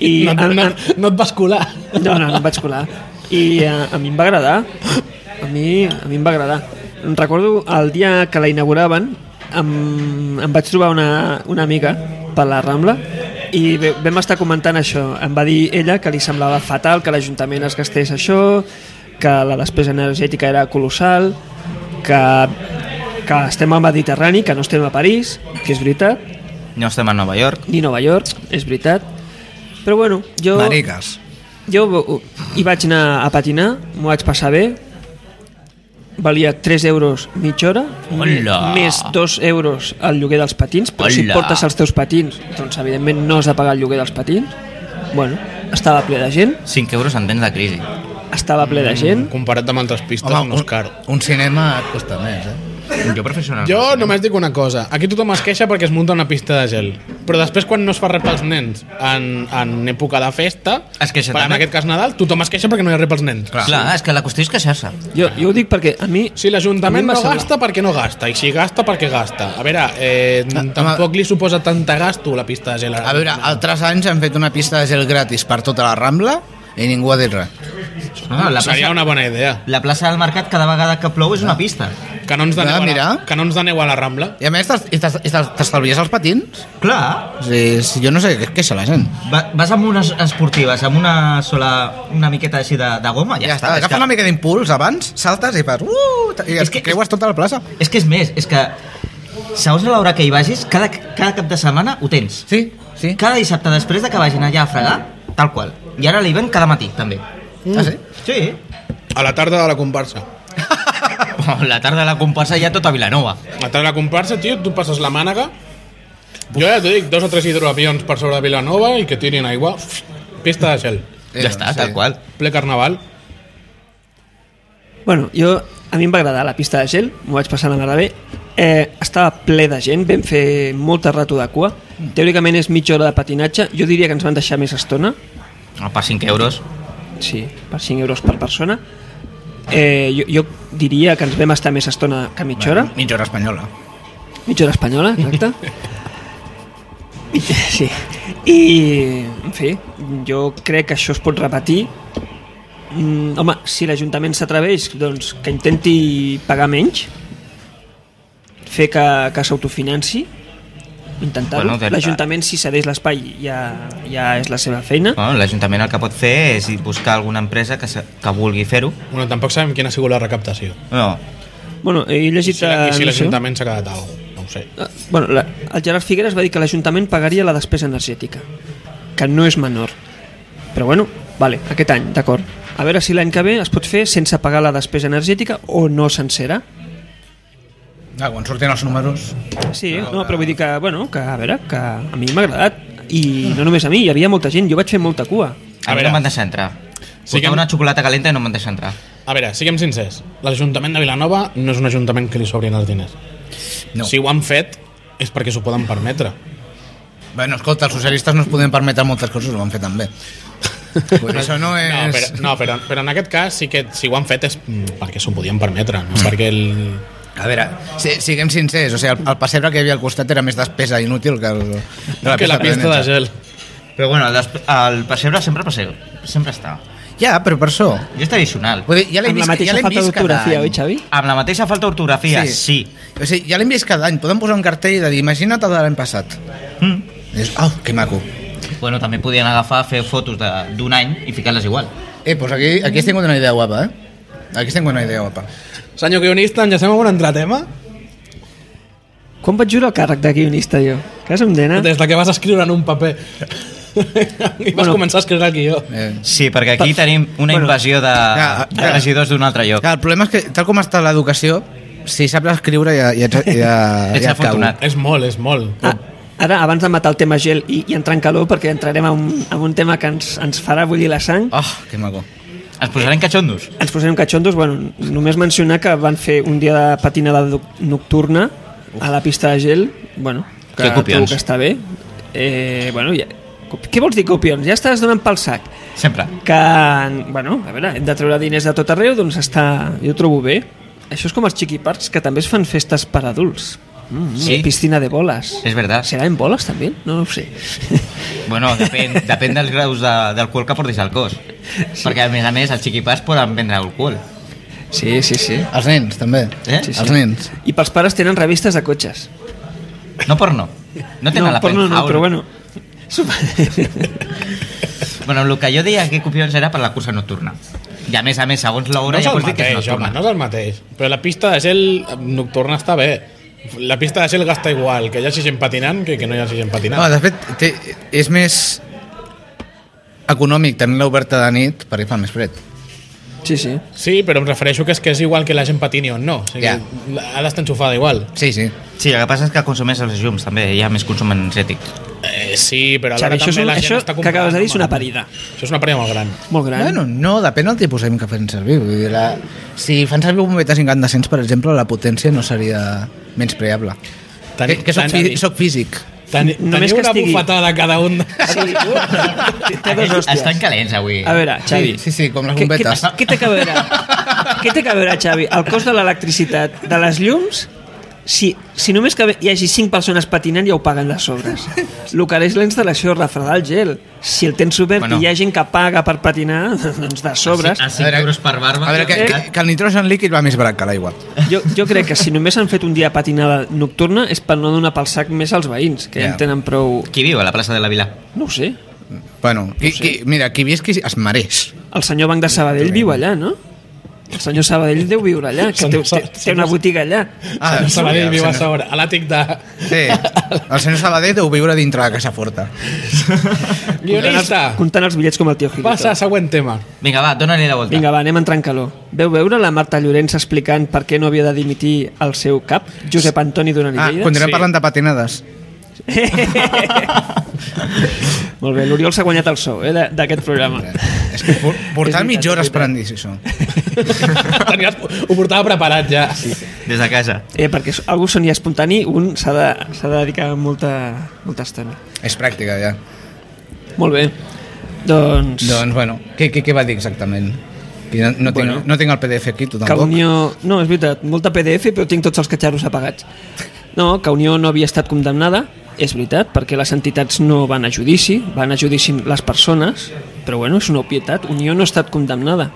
S3: I
S1: no, no, no et vas colar.
S3: no, no, no em vaig colar. I a, a mi em va agradar. A mi, a mi em va agradar. Recordo el dia que la inauguraven, em, em vaig trobar una, una amiga per la Rambla i ve- vam estar comentant això. Em va dir ella que li semblava fatal que l'Ajuntament es gastés això, que la despesa energètica era colossal, que, que estem al Mediterrani, que no estem a París, que és veritat,
S4: No estem a Nova York.
S3: ni Nova York, és veritat. Però bueno, jo...
S2: Mariques.
S3: Jo uh, hi vaig anar a patinar, m'ho vaig passar bé, valia 3 euros mitja hora,
S4: Hola.
S3: més 2 euros el lloguer dels patins, però si
S4: Hola.
S3: portes els teus patins, doncs evidentment no has de pagar el lloguer dels patins. Bueno, estava ple de gent,
S4: 5 euros en temps de crisi.
S3: estava ple
S4: Mm.
S3: de gent.
S1: Comparat amb altres pistes,
S2: Home,
S1: no és car.
S2: un, un cinema et costa més, eh?
S4: Jo professional.
S1: Jo només dic una cosa. Aquí tothom es queixa perquè es munta una pista de gel. Però després, quan no es fa res pels nens en, en època de festa,
S4: Es queixa
S1: per, en
S4: també.
S1: aquest cas Nadal, tothom es queixa perquè no hi ha res pels nens.
S4: Clar, Clar és que la qüestió és queixar-se.
S3: Jo, jo ho dic perquè a mi...
S1: Si
S3: a mi
S1: l'Ajuntament
S3: em va
S1: no
S3: semblar-
S1: gasta, perquè no gasta? I si gasta, perquè gasta? A veure, eh,
S2: home.
S1: tampoc li suposa tanta gasto la pista de gel.
S2: A veure, altres anys han fet una pista de gel gratis per tota la Rambla i ningú ha dit res.
S4: No, la, plaça,
S1: Seria una bona idea.
S4: la plaça del mercat cada vegada que plou és una pista.
S1: Canons de,
S2: Va,
S1: neu a la,
S2: mira.
S1: canons de neu a la Rambla.
S2: I a més t'es- i t'es- i t'es- t'estalvies els patins?
S4: Clar,
S2: O sigui, si jo no sé què es queixa la gent.
S4: va, vas amb unes esportives, amb una sola... una miqueta així de, de goma, ja,
S2: Ja, està,
S4: és
S2: agafa
S4: que-
S2: una mica d'impuls abans, saltes i fas... Uh, I
S4: És
S2: es
S4: que-
S2: que, creues tota la plaça.
S4: És que és més, és que segons l'hora que hi vagis, cada, cada cap de setmana ho tens.
S2: Sí, sí.
S4: Cada dissabte després de que vagin allà a fregar, tal qual. I ara l'hi ven cada matí, també.
S2: Ah, sí?
S4: Sí.
S1: A la tarda de la comparsa.
S4: Oh, La tarda de la comparsa ja tota Vilanova.
S1: A la tarda de la comparsa, tio, tu passes la mànega... Jo ja t'ho dic, dos o tres hidroavions per sobre de Vilanova i que tirin aigua. Pista de gel.
S4: Ja està,
S2: sí.
S4: tal qual.
S1: Ple carnaval.
S3: Bueno, jo, a mi em va agradar la pista de gel, m'ho vaig passar la merda bé. Eh, estava ple de gent, vam fer molta rato de cua.
S4: Mm.
S3: Teòricament és mitja hora de patinatge, jo diria que ens van deixar més estona,
S4: No, Ah, per 5 euros.
S3: sí, per 5 euros per persona. Eh, jo, jo diria que ens vam estar més estona que mitja hora,
S2: Mitja hora espanyola.
S3: mitja hora espanyola, exacte. Mitja- Sí. I, en fi, jo crec que això es pot repetir. Mm, home, si l'Ajuntament s'atreveix, doncs que intenti pagar menys, fer que, que s'autofinanci, intentar-ho.
S4: Bueno, de-
S3: L'Ajuntament, si cedeix l'espai, ja, ja és la seva feina.
S1: Ah.
S4: Bueno, L'Ajuntament el que pot fer és buscar alguna empresa que, se, que vulgui fer-ho.
S1: Bueno, tampoc sabem quina ha sigut la recaptació.
S4: No,
S3: Bueno, he
S1: I
S3: llegit... eh,
S1: si la- i si
S3: no sé,
S1: l'Ajuntament s'ha quedat alguna cosa. No ho sé.
S3: eh, Bueno, la, el Gerard Figueres va dir que l'Ajuntament pagaria la despesa energètica, que no és menor. Però bueno, vale, aquest any, d'acord. A veure si l'any que ve es pot fer sense pagar la despesa energètica o no sencera.
S2: Ah, quan surtin els números...
S3: Sí, no, però vull dir que, bueno, que a veure, que a mi m'ha agradat. I no només a mi, hi havia molta gent, jo vaig fer molta cua.
S4: a,
S1: A
S4: a mi
S1: veure.
S4: no m'han deixat entrar.
S1: Sí
S4: Sí
S1: que-
S4: que... una xocolata calenta i no m'han deixat entrar.
S1: A veure, siguem sincers. L'Ajuntament de Vilanova no és un ajuntament que li sobrin els diners.
S2: No.
S1: Si ho han fet, és perquè s'ho poden permetre.
S2: Bueno, escolta, els socialistes no es podien permetre moltes coses, ho van fer també. Pues això no Eh,
S1: No,
S2: és...
S1: però, no però, però en aquest cas sí que si ho han fet és mm, perquè s'ho podien permetre, no perquè el...
S2: A veure, si, siguem sincers, o sigui, el, el pessebre que hi havia al costat era més despesa inútil que, el,
S1: que la pista de gel.
S4: Però bueno, el, despe- el pessebre sempre pessebre, sempre està.
S2: Ja, però per això...
S4: I és tradicional.
S2: Vull dir, ja l'hem
S3: Amb la
S2: vist,
S3: mateixa
S2: ja l'hem
S3: falta
S2: vist cada
S3: d'autografia,
S2: any.
S3: oi, Xavi?
S4: Amb la mateixa falta d'ortografia, sí.
S2: O sigui, ja l'hem vist cada any. Podem posar un cartell de dir, imagina't el de l'any passat.
S4: sí. Mm.
S2: Dius, oh, que maco.
S4: Bueno, també podien agafar, fer fotos de- d'un any i ficar-les igual.
S2: Eh, doncs aquí, aquí has tingut una idea guapa, eh? Aquí has tingut una idea guapa.
S1: Senyor guionista, enllacem amb un altre tema?
S3: Quan vaig jurar el càrrec de guionista, jo? Que és un nena?
S1: Des de que vas escriure en un paper. I vas
S3: Bueno.
S1: bueno, començar a escriure el guió.
S2: Eh.
S4: Sí, perquè aquí tenim una
S3: Bueno.
S4: invasió de,
S2: Ja,
S4: de regidors d'un altre lloc.
S2: Clar, el problema és que, tal com està l'educació, si saps escriure ja, ja, ja, ja, ja et
S4: Ets
S2: cau.
S4: afortunat.
S1: És molt, és molt.
S3: Ah, ara, abans de matar el tema gel i, i entrar en calor, perquè entrarem en un, en un tema que ens, ens farà bullir la sang,
S2: Oh, que maco.
S4: Ens posarem catxondos.
S3: ens posarem catxondos, bueno, només mencionar que van fer un dia de patinada du- nocturna a la pista de gel, bueno, que,
S4: Que copions.
S3: trobo que està bé. Eh, bueno, ja, cop- què vols dir copions? Ja estàs donant pel sac.
S4: Sempre.
S3: Que, bueno, a veure, hem de treure diners de tot arreu, doncs està, jo ho trobo bé. Això és com els Chiqui Parks, que també es fan festes per adults. Mm,
S4: Sí.
S3: Piscina de boles.
S4: És verdad.
S3: ¿Será en bolas también? No lo sé.
S4: Bueno, depèn, depèn dels graus de, d'alcohol que portis al cos. Sí. Perquè, a més a més, els xiquipars poden vendre alcohol.
S3: Sí, sí, sí.
S2: Els nens, també.
S4: Eh?
S3: Sí, sí.
S2: Els nens.
S3: I pels pares tenen revistes de cotxes.
S4: No porno. No tenen la
S3: porno no,
S4: penthouse.
S3: però bueno. Supa-
S4: Bueno, el que jo deia que copions era per la cursa nocturna. I a més a més, segons
S1: No
S4: l'hora
S1: és
S4: ja
S1: el
S4: pots dir que és
S1: mateix, home,
S4: nocturna.
S1: no és el mateix. Però la pista de gel nocturna està bé. La pista de gel gasta igual, que hi hagi gent patinant que que no hi hagi gent
S2: No,
S1: patinant.
S2: de fet, té, és més econòmic tenir l'oberta de nit perquè fa més fred.
S3: Sí, sí.
S1: Sí, però em refereixo que és que és igual que la gent patini o no. O sigui,
S2: Ja.
S1: yeah. Ha d'estar enxufada igual.
S2: Sí, sí.
S4: Sí, el que passa és que consumeix els llums, també. Hi ha més consum energètic.
S1: Eh, sí, però alhora
S3: Xavi, això, és
S1: també
S3: un,
S1: la gent
S3: això
S1: està
S3: que acabes de dir és
S1: home.
S3: una parida
S1: Això és una parida molt gran.
S3: molt gran.
S2: Bueno, no, depèn del tipus d'AIM que fan servir. Vull dir, la... Si fan servir bombetes incandescents, per exemple, la potència no seria menys preable.
S1: Tan-
S2: que, que soc,
S1: tan-
S2: fi, soc físic.
S1: Ten, Només
S3: Només
S1: teniu
S3: que
S1: una
S3: estigui-
S1: bufetada cada un.
S3: Sí. Té dos hòsties.
S4: Estan calents avui.
S3: A veure, Xavi.
S2: Sí, sí, sí, com les
S3: Què-
S2: bombetes.
S3: Què, què té que veure? què té que veure, Xavi? El cost de l'electricitat, de les llums, si, si només que hi hagi 5 persones patinant ja ho paguen de sobres. El que és la instal·lació, refredar el gel. Si el tens obert bueno.
S4: Bueno.
S3: i hi ha gent que paga per patinar, doncs de sobres.
S4: A 5 euros per barba.
S2: A veure, que,
S1: eh?
S2: que, que el nitrogen líquid va més barat que l'aigua.
S3: Jo, jo crec que si només han fet un dia patinada nocturna és per no donar pel sac més als veïns, que ja
S2: Ja.
S3: en tenen prou...
S4: Qui viu a la plaça de la Vila?
S3: No ho sé.
S2: Bueno, qui, qui, mira, qui visqui es mereix.
S3: El senyor Banc de Sabadell viu allà, no? El senyor Sabadell deu viure allà, que té, té, té una botiga allà.
S1: Ah,
S2: sí,
S1: Sabadell
S2: el
S1: viu a
S2: senyor-
S1: sobre, a l'àtic de...
S2: Sí, el senyor Sabadell deu viure dintre la casa forta.
S1: Guionista,
S3: Comptant els bitllets com el tio
S1: passa
S3: Gilito.
S1: al següent tema.
S4: Vinga, va, dona-li la volta.
S3: Vinga, va, anem entrant en calor. Veu veure la Marta Llorenç explicant per què no havia de dimitir el seu cap, Josep Antoni Duran i
S2: Ah,
S3: Lleida?
S2: continuem
S4: Sí.
S2: parlant de patinades.
S3: Molt bé, l'Oriol s'ha guanyat el sou eh, de- d'aquest programa.
S2: És que por- portar
S3: És veritat, és
S2: mitja hora
S3: veritat.
S2: esperant dir això.
S1: Tenies, ho portava preparat ja. Sí.
S4: Des de casa.
S3: Eh, perquè algú soni espontani, un s'ha de, s'ha de dedicar molta, molta estona.
S2: És pràctica, ja.
S3: Molt bé. Doncs...
S2: Doncs, bueno, què, què, què va dir exactament? Que No, no, tinc,
S3: Bueno.
S2: no tinc el PDF aquí, tu
S3: que
S2: tampoc.
S3: Unió... No, és veritat, molta PDF, però tinc tots els catxarros apagats. No, que Unió no havia estat condemnada, és veritat, perquè les entitats no van a judici, van a judici les persones, però bueno, és una obvietat, Unió no ha estat condemnada.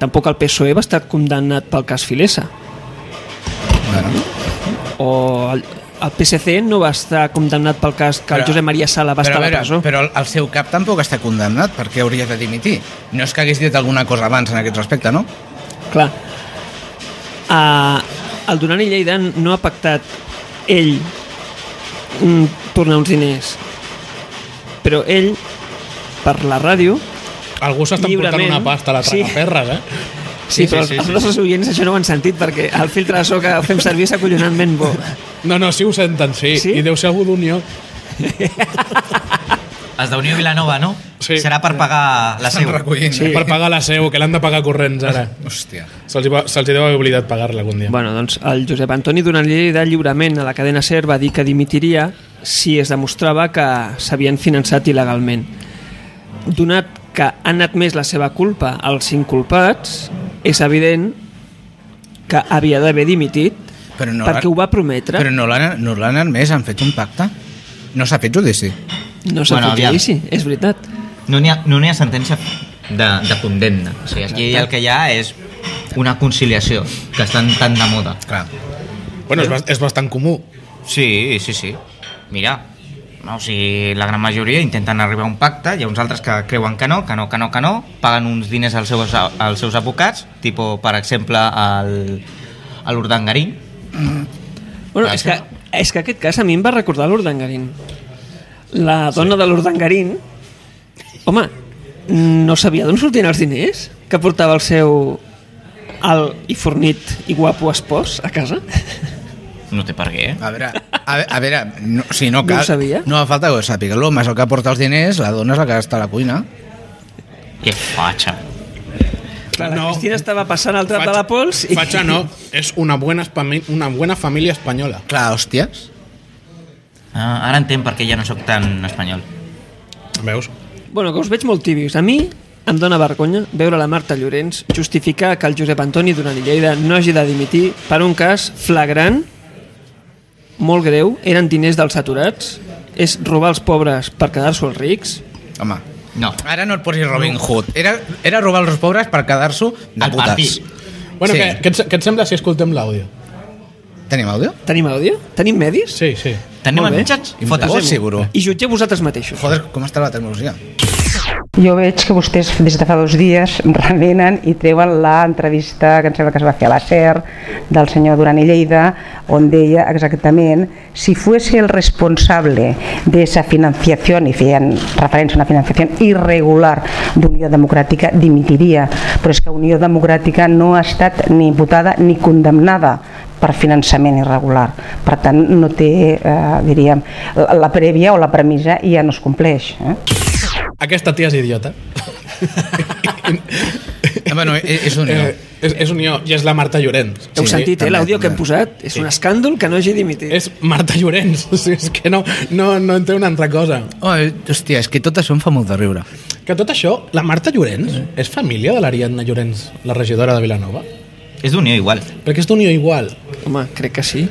S3: Tampoc el PSOE E va estar condemnat pel cas Filesa,
S2: Bueno.
S3: o el, el PSC no va estar condemnat pel cas que el
S2: Però-
S3: Josep Maria Sala va
S2: però, a
S3: estar a la
S2: veure,
S3: presó.
S2: Però el seu cap tampoc està condemnat, perquè hauria de dimitir. No és que hagués dit alguna cosa abans en aquest respecte, no?
S3: Clar. Uh, el Duran i Lleida no ha pactat ell mm, tornar uns diners. Però ell, per la ràdio...
S1: Algú s'està portant
S3: Lliurement.
S1: una pasta a la
S3: Sí.
S1: tragaperres, eh?
S4: Sí,
S3: Sí, sí,
S4: sí,
S3: però sí,
S4: sí,
S3: els, els
S4: sí.
S3: nostres oients això no ho han sentit perquè el filtre de so que fem servir és acollonantment bo.
S1: No, no, sí ho senten, sí.
S3: Sí?
S1: sí? I deu ser algú d'Unió.
S4: Els d'Unió Vilanova, no?
S1: Sí.
S4: Serà per pagar la
S2: Estan
S4: seva.
S2: recollint. eh?
S1: Sí. Per pagar la seu, que l'han de pagar corrents ara.
S2: Hòstia.
S1: Se'ls hi va- se'ls hi deu haver oblidat pagar-la algun dia.
S3: Bueno, doncs el Josep Antoni Duran i Lleida lliurement a la cadena SER va dir que dimitiria si es demostrava que s'havien finançat il·legalment. Donat que han admès la seva culpa als inculpats, és evident que havia d'haver dimitit
S2: Però no
S3: perquè
S2: l'han-
S3: ho va prometre.
S2: Però no l'han no l'han admès, han fet un pacte. No s'ha fet judici.
S3: No s'ha
S4: Bueno,
S3: bueno, fet
S4: aviam.
S3: judici, és veritat.
S4: No n'hi ha, no n'hi ha sentència de, de condemna. O sigui, aquí el que hi ha és una conciliació, que estan tan de moda.
S2: Clar.
S1: Bueno, és, bas- és bastant comú.
S4: Sí, sí, sí. Mira, no, o sigui, la gran majoria intenten arribar a un pacte, hi ha uns altres que creuen que no, que no, que no, que no, paguen uns diners als seus, als seus advocats, tipo, per exemple, al, a l'Urdangarín.
S3: Bueno,
S4: Clar,
S3: és, que,
S4: això
S3: és que aquest cas a mi em va recordar l'Urdangarín. La dona sí. de l'Urdangarín, home, no sabia d'on sortien els diners que portava el seu alt i fornit i guapo espòs a casa.
S4: No té per què, eh?
S2: A veure, a, ve- a veure no, si no
S3: No
S2: cal...
S3: ho sabia.
S2: No fa falta que ho sàpiga. L'home és el que porta els diners, la dona és la que està a la cuina.
S4: Que fatxa.
S3: Clar, la
S1: No.
S3: Cristina estava passant al drap de la pols i...
S1: Facha no, és una buena, espami- una buena família espanyola.
S2: Clar, hòsties.
S4: Ah, ara entenc per què ja no sóc tan espanyol.
S1: Veus?
S3: Bueno, que us veig molt tibios. A mi em dóna vergonya veure la Marta Llorenç justificar que el Josep Antoni Duran i Lleida no hagi de dimitir per un cas flagrant, molt greu, eren diners dels saturats, és robar els pobres per quedar-s'ho els rics.
S2: Home,
S4: No.
S2: ara no et posis Robin Hood. Era, era robar els pobres per quedar-s'ho de
S4: Al
S2: putes.
S4: partit.
S1: Bueno,
S2: Sí.
S1: sí. què, què, et, se- què et sembla si escoltem l'àudio?
S2: Tenim àudio?
S3: Tenim àudio? Tenim medis?
S1: Sí, sí.
S4: Tenim
S3: Molt
S4: els
S3: bé.
S4: mitjans?
S2: Impossible.
S4: Fotes.
S2: Oh, Seguro.
S3: I jutgeu vosaltres mateixos.
S2: Joder, com està la tecnologia?
S6: Jo veig que vostès des de fa dos dies remenen i treuen l'entrevista que em sembla que es va fer a la SER del senyor Duran i Lleida on deia exactament si fuese el responsable de esa financiación y feien referència a una financiación irregular d'Unió Democràtica dimitiria però és que Unió Democràtica no ha estat ni imputada ni condemnada per finançament irregular. Per tant, no té, eh, diríem, la, la prèvia o la premissa ja no es compleix. Eh?
S1: Aquesta tia és idiota.
S2: Eh, bueno, és, és un
S1: Eh, és, és Unió i és la Marta Llorenç.
S3: Heu
S1: Sí.
S3: sentit, eh,
S2: també,
S3: l'àudio que hem
S2: també.
S3: posat? És un escàndol que no hagi dimitit.
S1: És Marta Llorenç. O sigui, és que no, no, no en té una altra cosa.
S2: Oh, eh, hòstia, és que tot això em fa molt de riure.
S1: Que tot això, la Marta Llorenç és família de l'Ariadna Llorenç, la regidora de Vilanova?
S4: És d'unió igual.
S1: Perquè és d'unió igual.
S3: Home, crec que sí.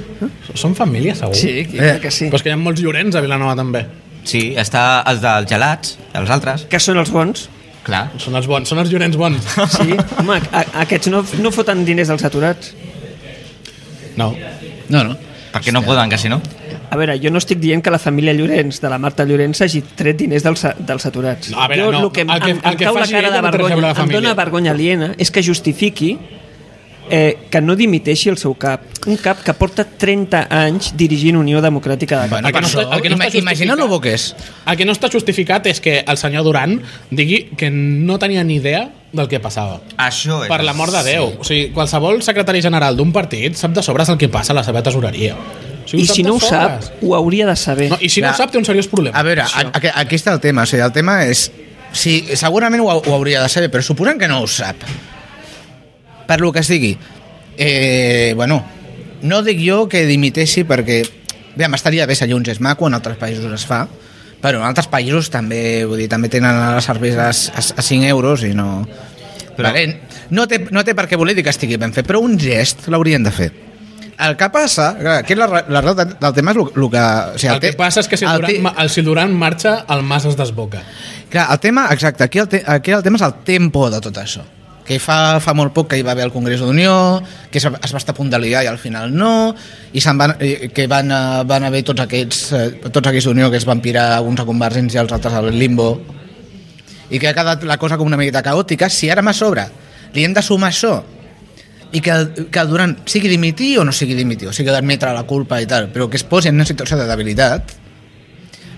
S1: Són família, segur.
S3: Sí, crec que sí.
S1: Però és que hi ha molts Llorenç a Vilanova, també.
S4: Sí, està els dels gelats, els altres.
S3: Que són els bons.
S4: Clar.
S1: Són els bons, són els Llorenç bons.
S3: Sí, home, a, aquests no, no foten diners als aturats.
S1: No.
S2: No, no.
S4: Perquè no poden, que si no.
S3: A veure, jo no estic dient que la família Llorenç, de la Marta Llorenç, hagi tret diners dels, dels aturats.
S1: No, a veure,
S3: jo,
S1: no.
S3: el que, em-
S1: El que-
S3: em,
S1: el
S3: em
S1: que
S3: cau la
S1: faci
S3: cara
S1: ella no té res a
S3: de
S1: veure
S3: vergonya,
S1: amb la
S3: em dóna
S1: família.
S3: vergonya aliena, és que justifiqui eh, que no dimiteixi el seu cap. Un cap que porta 30 anys dirigint Unió Democràtica de
S2: Bueno,
S1: El que
S2: per
S1: no
S2: això,
S1: està- el que no
S2: ima-
S1: està
S2: imagina
S1: justificat.
S2: lo bo que és.
S1: El que no està justificat és que el senyor Duran digui que no tenia ni idea del que passava.
S3: Ah,
S4: Això és...
S1: Per l'amor de Déu. O sigui, qualsevol secretari general d'un partit sap de sobres el que passa a la seva tesoreria. O sigui,
S3: I
S1: sap
S3: si
S1: de
S3: no ho
S1: sobres.
S3: sap, ho hauria de saber.
S1: No, I si no
S2: Clar.
S1: ho sap, té un seriós problema.
S2: A veure, a, a, aquí està el tema. O sigui, el tema és... Sí, segurament ho, hau- ho hauria de saber, però suposant que no ho sap. Per lo que es digui. Eh, bueno, no dic jo que dimiteixi perquè... Bé, m'estaria bé ser Junts és maco, en altres països es fa, però en altres països també, vull dir, també tenen les cerveses a, a 5 euros i no...
S4: Però-
S2: Però... Vale, no, té, no té per què voler dir que estigui ben fet, però un gest l'haurien de fer. El que passa, clar, aquí la, ra- la, raó del del tema és el, que... O sigui,
S1: el, el que
S2: te-
S1: passa és que si el,
S2: el
S1: Duran,
S2: te-
S1: ma- el, si el Duran marxa, el Mas es desboca.
S2: Clar, el tema, exacte, aquí el, te aquí el tema és el tempo de tot això. Que fa, fa molt poc que hi va haver el Congrés d'Unió, que es, va- es va estar a punt de liar i al final no, i se'n van, eh, que van, eh, van haver tots aquests, eh, tots aquests d'Unió que es van pirar uns a Convergència i els altres al limbo, i que ha quedat la cosa com una miqueta caòtica, si ara a sobre li hem de sumar això i que, el- que el Durant sigui dimitir o no sigui dimitir, o sigui d'admetre la culpa i tal, però que es posi en una situació de debilitat,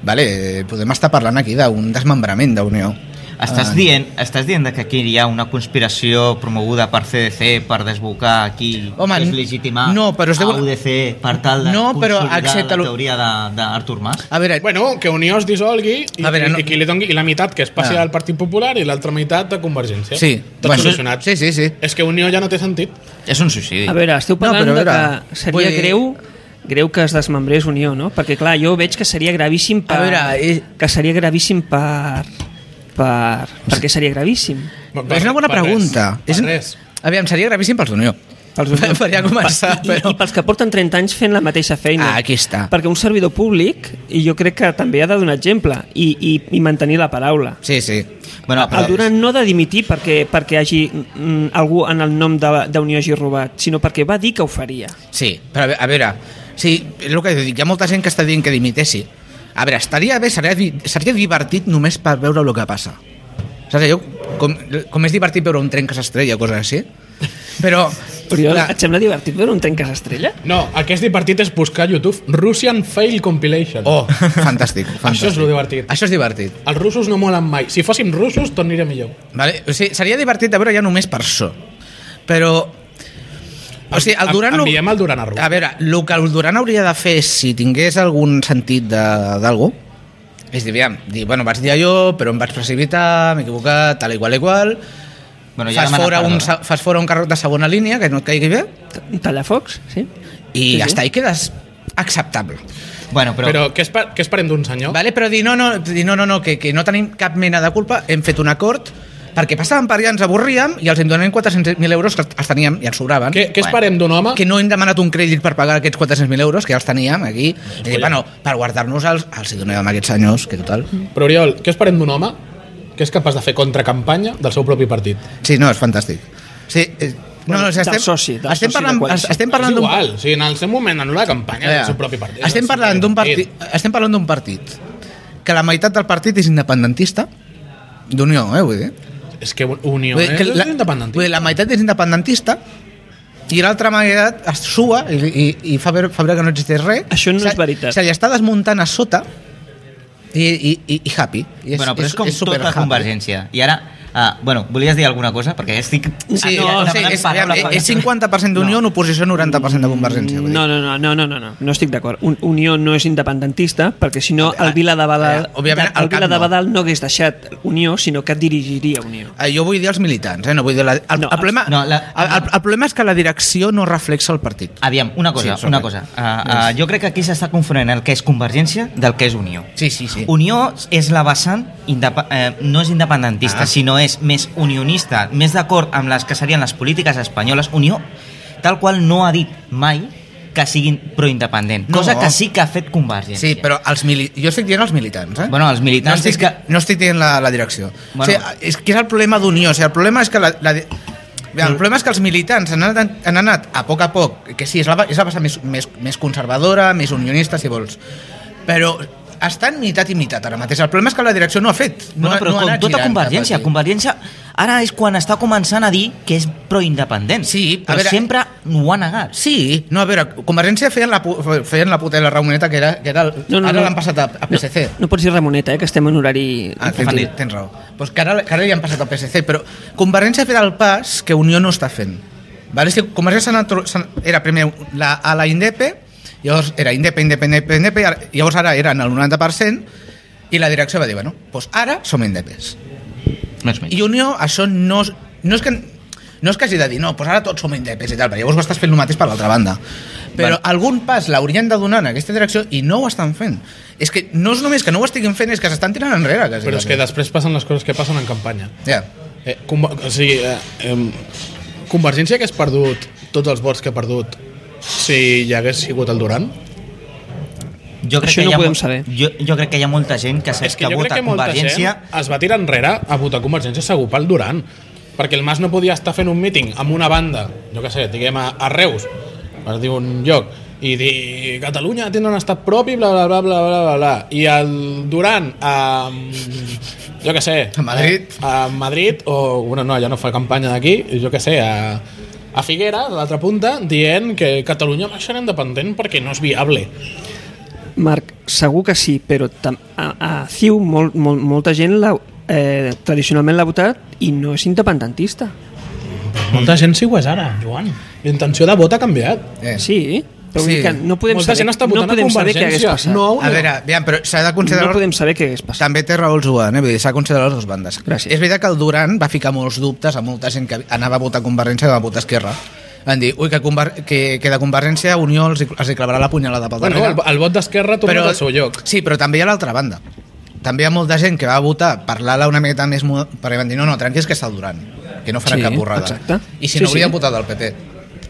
S2: vale, eh, podem estar parlant aquí d'un desmembrament d'Unió. Ah.
S4: Estàs dient, estàs dient de que aquí hi ha una conspiració promoguda per CDC per desbocar aquí
S2: Home,
S4: és legitimar
S2: no, però es deu-
S4: a UDC per tal de
S2: No, però
S4: consolidar
S2: accepta
S4: la
S2: lo-
S4: teoria de- d'Artur Mas?
S2: A veure, bueno,
S1: Bueno, que Unió es dissolgui i,
S2: Eh, A veure,
S1: i,
S2: no-
S1: i, que li doni, i la meitat que es passi
S2: Ah.
S1: al Partit Popular i l'altra meitat de Convergència.
S2: Sí,
S1: Tot
S2: bueno,
S1: solucionat.
S2: sí, sí, sí.
S1: És que Unió ja no té sentit.
S4: És un suïcidi.
S3: A veure, esteu
S2: No, però
S3: parlant no,
S2: a veure,
S3: de que seria
S2: vull dir-
S3: dir... greu greu que es desmembrés Unió, no? Perquè, clar, jo veig que seria gravíssim per...
S2: A veure, eh, i-
S3: Que seria gravíssim per... per... Perquè seria gravíssim.
S2: és una bona
S1: Per res,
S2: pregunta.
S1: per
S2: és...
S1: res.
S2: Aviam, seria gravíssim pels d'Unió.
S3: Pels Unió.
S2: Per ja començar,
S3: I,
S2: però...
S3: I pels que porten 30 anys fent la mateixa feina.
S2: Ah, aquí està.
S3: Perquè un servidor públic, i jo crec que també ha de donar exemple i, i, i mantenir la paraula.
S2: Sí, sí.
S4: Bueno,
S3: El Durant no ha de dimitir perquè, perquè hagi, mm, algú en el nom de- d'Unió hagi robat, sinó perquè va dir que ho faria.
S2: Sí, però a ve- a veure, sí, és el que dic, hi ha molta gent que està dient que dimiteixi. A veure, estaria bé, seria, di- seria divertit només per veure el que passa. Saps allò? Com, com és divertit veure un tren que s'estrella, coses així. Però...
S3: Oriol,
S2: clar,
S3: et sembla divertit veure un tren que s'estrella?
S1: No, el que és divertit és buscar a YouTube Russian Fail Compilation.
S2: Oh, fantàstic, fantàstic.
S1: Això és lo divertit.
S2: Això és divertit.
S1: Els russos no molen mai. Si fóssim russos, tot aniria millor.
S2: Vale? O sigui, seria divertit de veure ja només per això. Però... O sigui, el
S1: En-
S2: Duran... lo-
S1: Enviem el Duran a Rússia.
S2: A veure, el que el Duran hauria de fer si tingués algun sentit de- d'algú és dir, aviam, dir, bueno, vaig dir allò, però em vaig precipitar, m'he equivocat, tal, igual, igual.
S4: bueno, ja
S2: fas,
S4: demana
S2: fora
S4: perdó.
S2: un, sa- fas fora un carrot de segona línia, que no et caigui bé,
S3: Un Tallafocs, sí?
S2: i
S3: Sí,
S2: sí, ja
S3: sí.
S2: està, i quedes acceptable.
S4: Bueno, però,
S1: Però, però què, esper què esperem d'un senyor?
S2: Vale? Però dir, no, no, dir, no, no, no que, que no tenim cap mena de culpa, hem fet un acord, perquè passàvem per allà, ens avorríem, i els en donem 400.000 euros que els teníem i ens sobraven.
S1: Què, què
S4: Bueno.
S1: esperem d'un home?
S2: que no hem demanat un crèdit per pagar aquests 400.000 euros que ja els teníem aquí i dir, bueno, per guardar-nos els, els hi donem a aquests senyors que total
S1: Però Oriol, què esperem d'un home que és capaç de fer contracampanya del seu propi partit?
S2: sí, no, és fantàstic sí, eh, no,
S3: Bueno,
S2: no, o sigui,
S3: del
S2: estem,
S3: soci, del
S2: estem
S3: soci de
S2: parlant,
S3: coalició.
S2: estem
S1: És
S2: parlant d'un
S1: igual, o sigui, en el seu moment, en la campanya del seu propi partit.
S2: estem parlant d'un partit estem parlant d'un partit que la meitat del partit és independentista d'Unió, eh, vull dir
S1: És que Unió
S2: Vull dir
S1: eh?
S2: que
S1: és independentista.
S2: vull dir, la meitat és independentista i l'altra meitat es sua i, i, i fa, veure, fa veure que no existeix res.
S3: Això no
S2: Se-
S3: és veritat.
S2: Se li està desmuntant a sota i, i, i, i happy. I
S4: bueno, però és, com
S2: super
S4: tota
S2: happy.
S4: Convergència. I ara Ah, bueno, volies dir alguna cosa? Perquè estic...
S2: Sí,
S4: ah,
S2: no,
S4: demanant
S2: sí, és,
S4: paraula per-
S2: és 50% d'Unió en oposició 90% de Convergència. vull dir.
S3: No, no, no, no, no, no, no, no estic d'acord. Un, Unió no és independentista perquè si no el Vila de Badal,
S2: Ah, eh, òbviament,
S3: el
S2: al cap
S3: Vila de
S2: no.
S3: Badal no hagués deixat Unió, sinó que dirigiria Unió.
S2: Eh, Jo vull dir els militants, eh? no vull dir... La, el,
S3: No,
S2: no, el, problema,
S4: no,
S2: no,
S4: la-
S2: la, el, el, el problema és que la direcció no reflexa el partit.
S4: Aviam, una cosa,
S2: Sí,
S4: sí, una
S2: sorprèn.
S4: cosa. Uh, uh, jo crec que aquí s'està confonent el que és Convergència del que és Unió.
S2: Sí, sí, sí.
S4: Unió és la vessant, indep- eh, no és independentista,
S2: Ah.
S4: ah. sinó és més unionista, més d'acord amb les que serien les polítiques espanyoles. Unió, tal qual, no ha dit mai que siguin proindependent,
S2: No.
S4: cosa que sí que ha fet Convergència.
S2: Sí, però els mili... jo estic dient els militants, eh?
S4: Bueno, els militants
S2: no estic,
S4: és que-
S2: No estic dient la, la direcció. Bueno.
S4: Bueno.
S2: O sigui, és que és el problema d'Unió. O sigui, el problema és que la, la... di- Bé, el problema és que els militants han anat, han anat a poc a poc, que sí, és la, va- és la vessant més, més, més conservadora, més unionista, si vols, però estan meitat i meitat ara mateix. El problema és que la direcció no ha fet. No,
S4: Bueno,
S2: ha-
S4: però
S2: no ha
S4: com
S2: anat
S4: tota
S2: girant cap
S4: Convergència,
S2: aquí.
S4: Convergència ara és quan està començant a dir que és proindependent.
S2: Sí, a
S4: però
S2: veure-
S4: sempre ho ha negat.
S2: Sí, no, a veure, Convergència feien la, pu- feien la puta i la ramoneta que era, que era el, no, no, ara no. l'han passat a, a PSC.
S3: No, no pots dir Ramoneta, eh, que estem en horari
S2: Ah, tens,
S3: infantil.
S2: tens raó. Pues que, ara, que ara li han passat al PSC, però Convergència ha fet el pas que Unió no està fent. Vale? Si Convergència s'ha anat tro- s'ha- era primer la, a la INDEP, llavors era INDEP, INDEP, INDEP, INDEP, i ara- llavors ara eren el 90%, i la direcció va dir, bueno, pues ara som indepes.
S4: Més o menys.
S2: I Unió, això no, és- no és que no és que hagi de dir, no, doncs ara tots som indepes i tal, perquè llavors ho estàs fent el mateix per l'altra banda. Però
S4: Vale.
S2: algun pas l'haurien de donar en aquesta direcció i no ho estan fent. És que no és només que no ho estiguin fent, és que s'estan tirant enrere. Quasi,
S1: Però és que
S2: quasi.
S1: després passen les coses que passen en campanya.
S2: Ja.
S1: Eh, conver- o sigui, eh, em, Convergència que has perdut tots els vots que ha perdut si hi hagués sigut el Duran?
S4: Jo crec
S3: Això
S4: que
S3: no
S4: hi ha
S3: podem
S4: mo-
S3: saber.
S4: Jo, jo crec que hi ha molta gent que,
S1: És que
S4: que
S1: jo crec
S4: vota
S1: que molta gent
S4: Convergència...
S1: es va tirar enrere a votar Convergència segur pel Duran. Perquè el Mas no podia estar fent un míting amb una banda, jo què sé, diguem a, a Reus, per dir un lloc, i dir Catalunya tindrà un estat propi, bla, bla, bla, bla, bla, bla, bla. I el Duran a... jo què sé... eh,
S2: A Madrid.
S1: A, a Madrid, o... Bueno, no, ja no fa campanya d'aquí, jo què sé, a a Figueres, a l'altra punta, dient que Catalunya va ser independent perquè no és viable.
S3: Marc, segur que sí, però tam- a, a CiU molt, molt, molta gent la, eh, tradicionalment l'ha votat i no és independentista.
S1: Molta gent sí ho és ara, Joan. L'intenció de vot ha canviat.
S2: Eh.
S3: Sí, però
S2: Sí.
S3: sí. Que no podem
S1: Molta
S3: saber,
S1: gent està votant
S3: no podem
S1: a
S3: saber què hagués
S1: Convergència.
S3: passat.
S1: no,
S2: A veure, aviam, però s'ha de considerar...
S3: no podem saber què hagués passat.
S2: També té raó el Joan, eh? Vull dir, s'ha de considerar les dues bandes.
S3: Gràcies.
S2: És veritat que el Duran va ficar molts dubtes a molta gent que anava a votar Convergència i va votar Esquerra. Van dir, ui, que, Conver... que, que de Convergència Unió els, hi- els hi clavarà la punyalada pel
S1: Bueno, el,
S2: darrere.
S1: el vot d'esquerra ha tornat al seu lloc.
S2: Sí, però també hi ha l'altra banda. També hi ha molta gent que va votar per l'ala una miqueta més... mo- Perquè van dir, no, no, tranquils que està el Duran, que no farà
S3: Sí,
S2: cap borrada.
S3: exacte.
S2: I si
S3: Sí,
S2: no, haurien
S3: sí.
S2: votat del PT.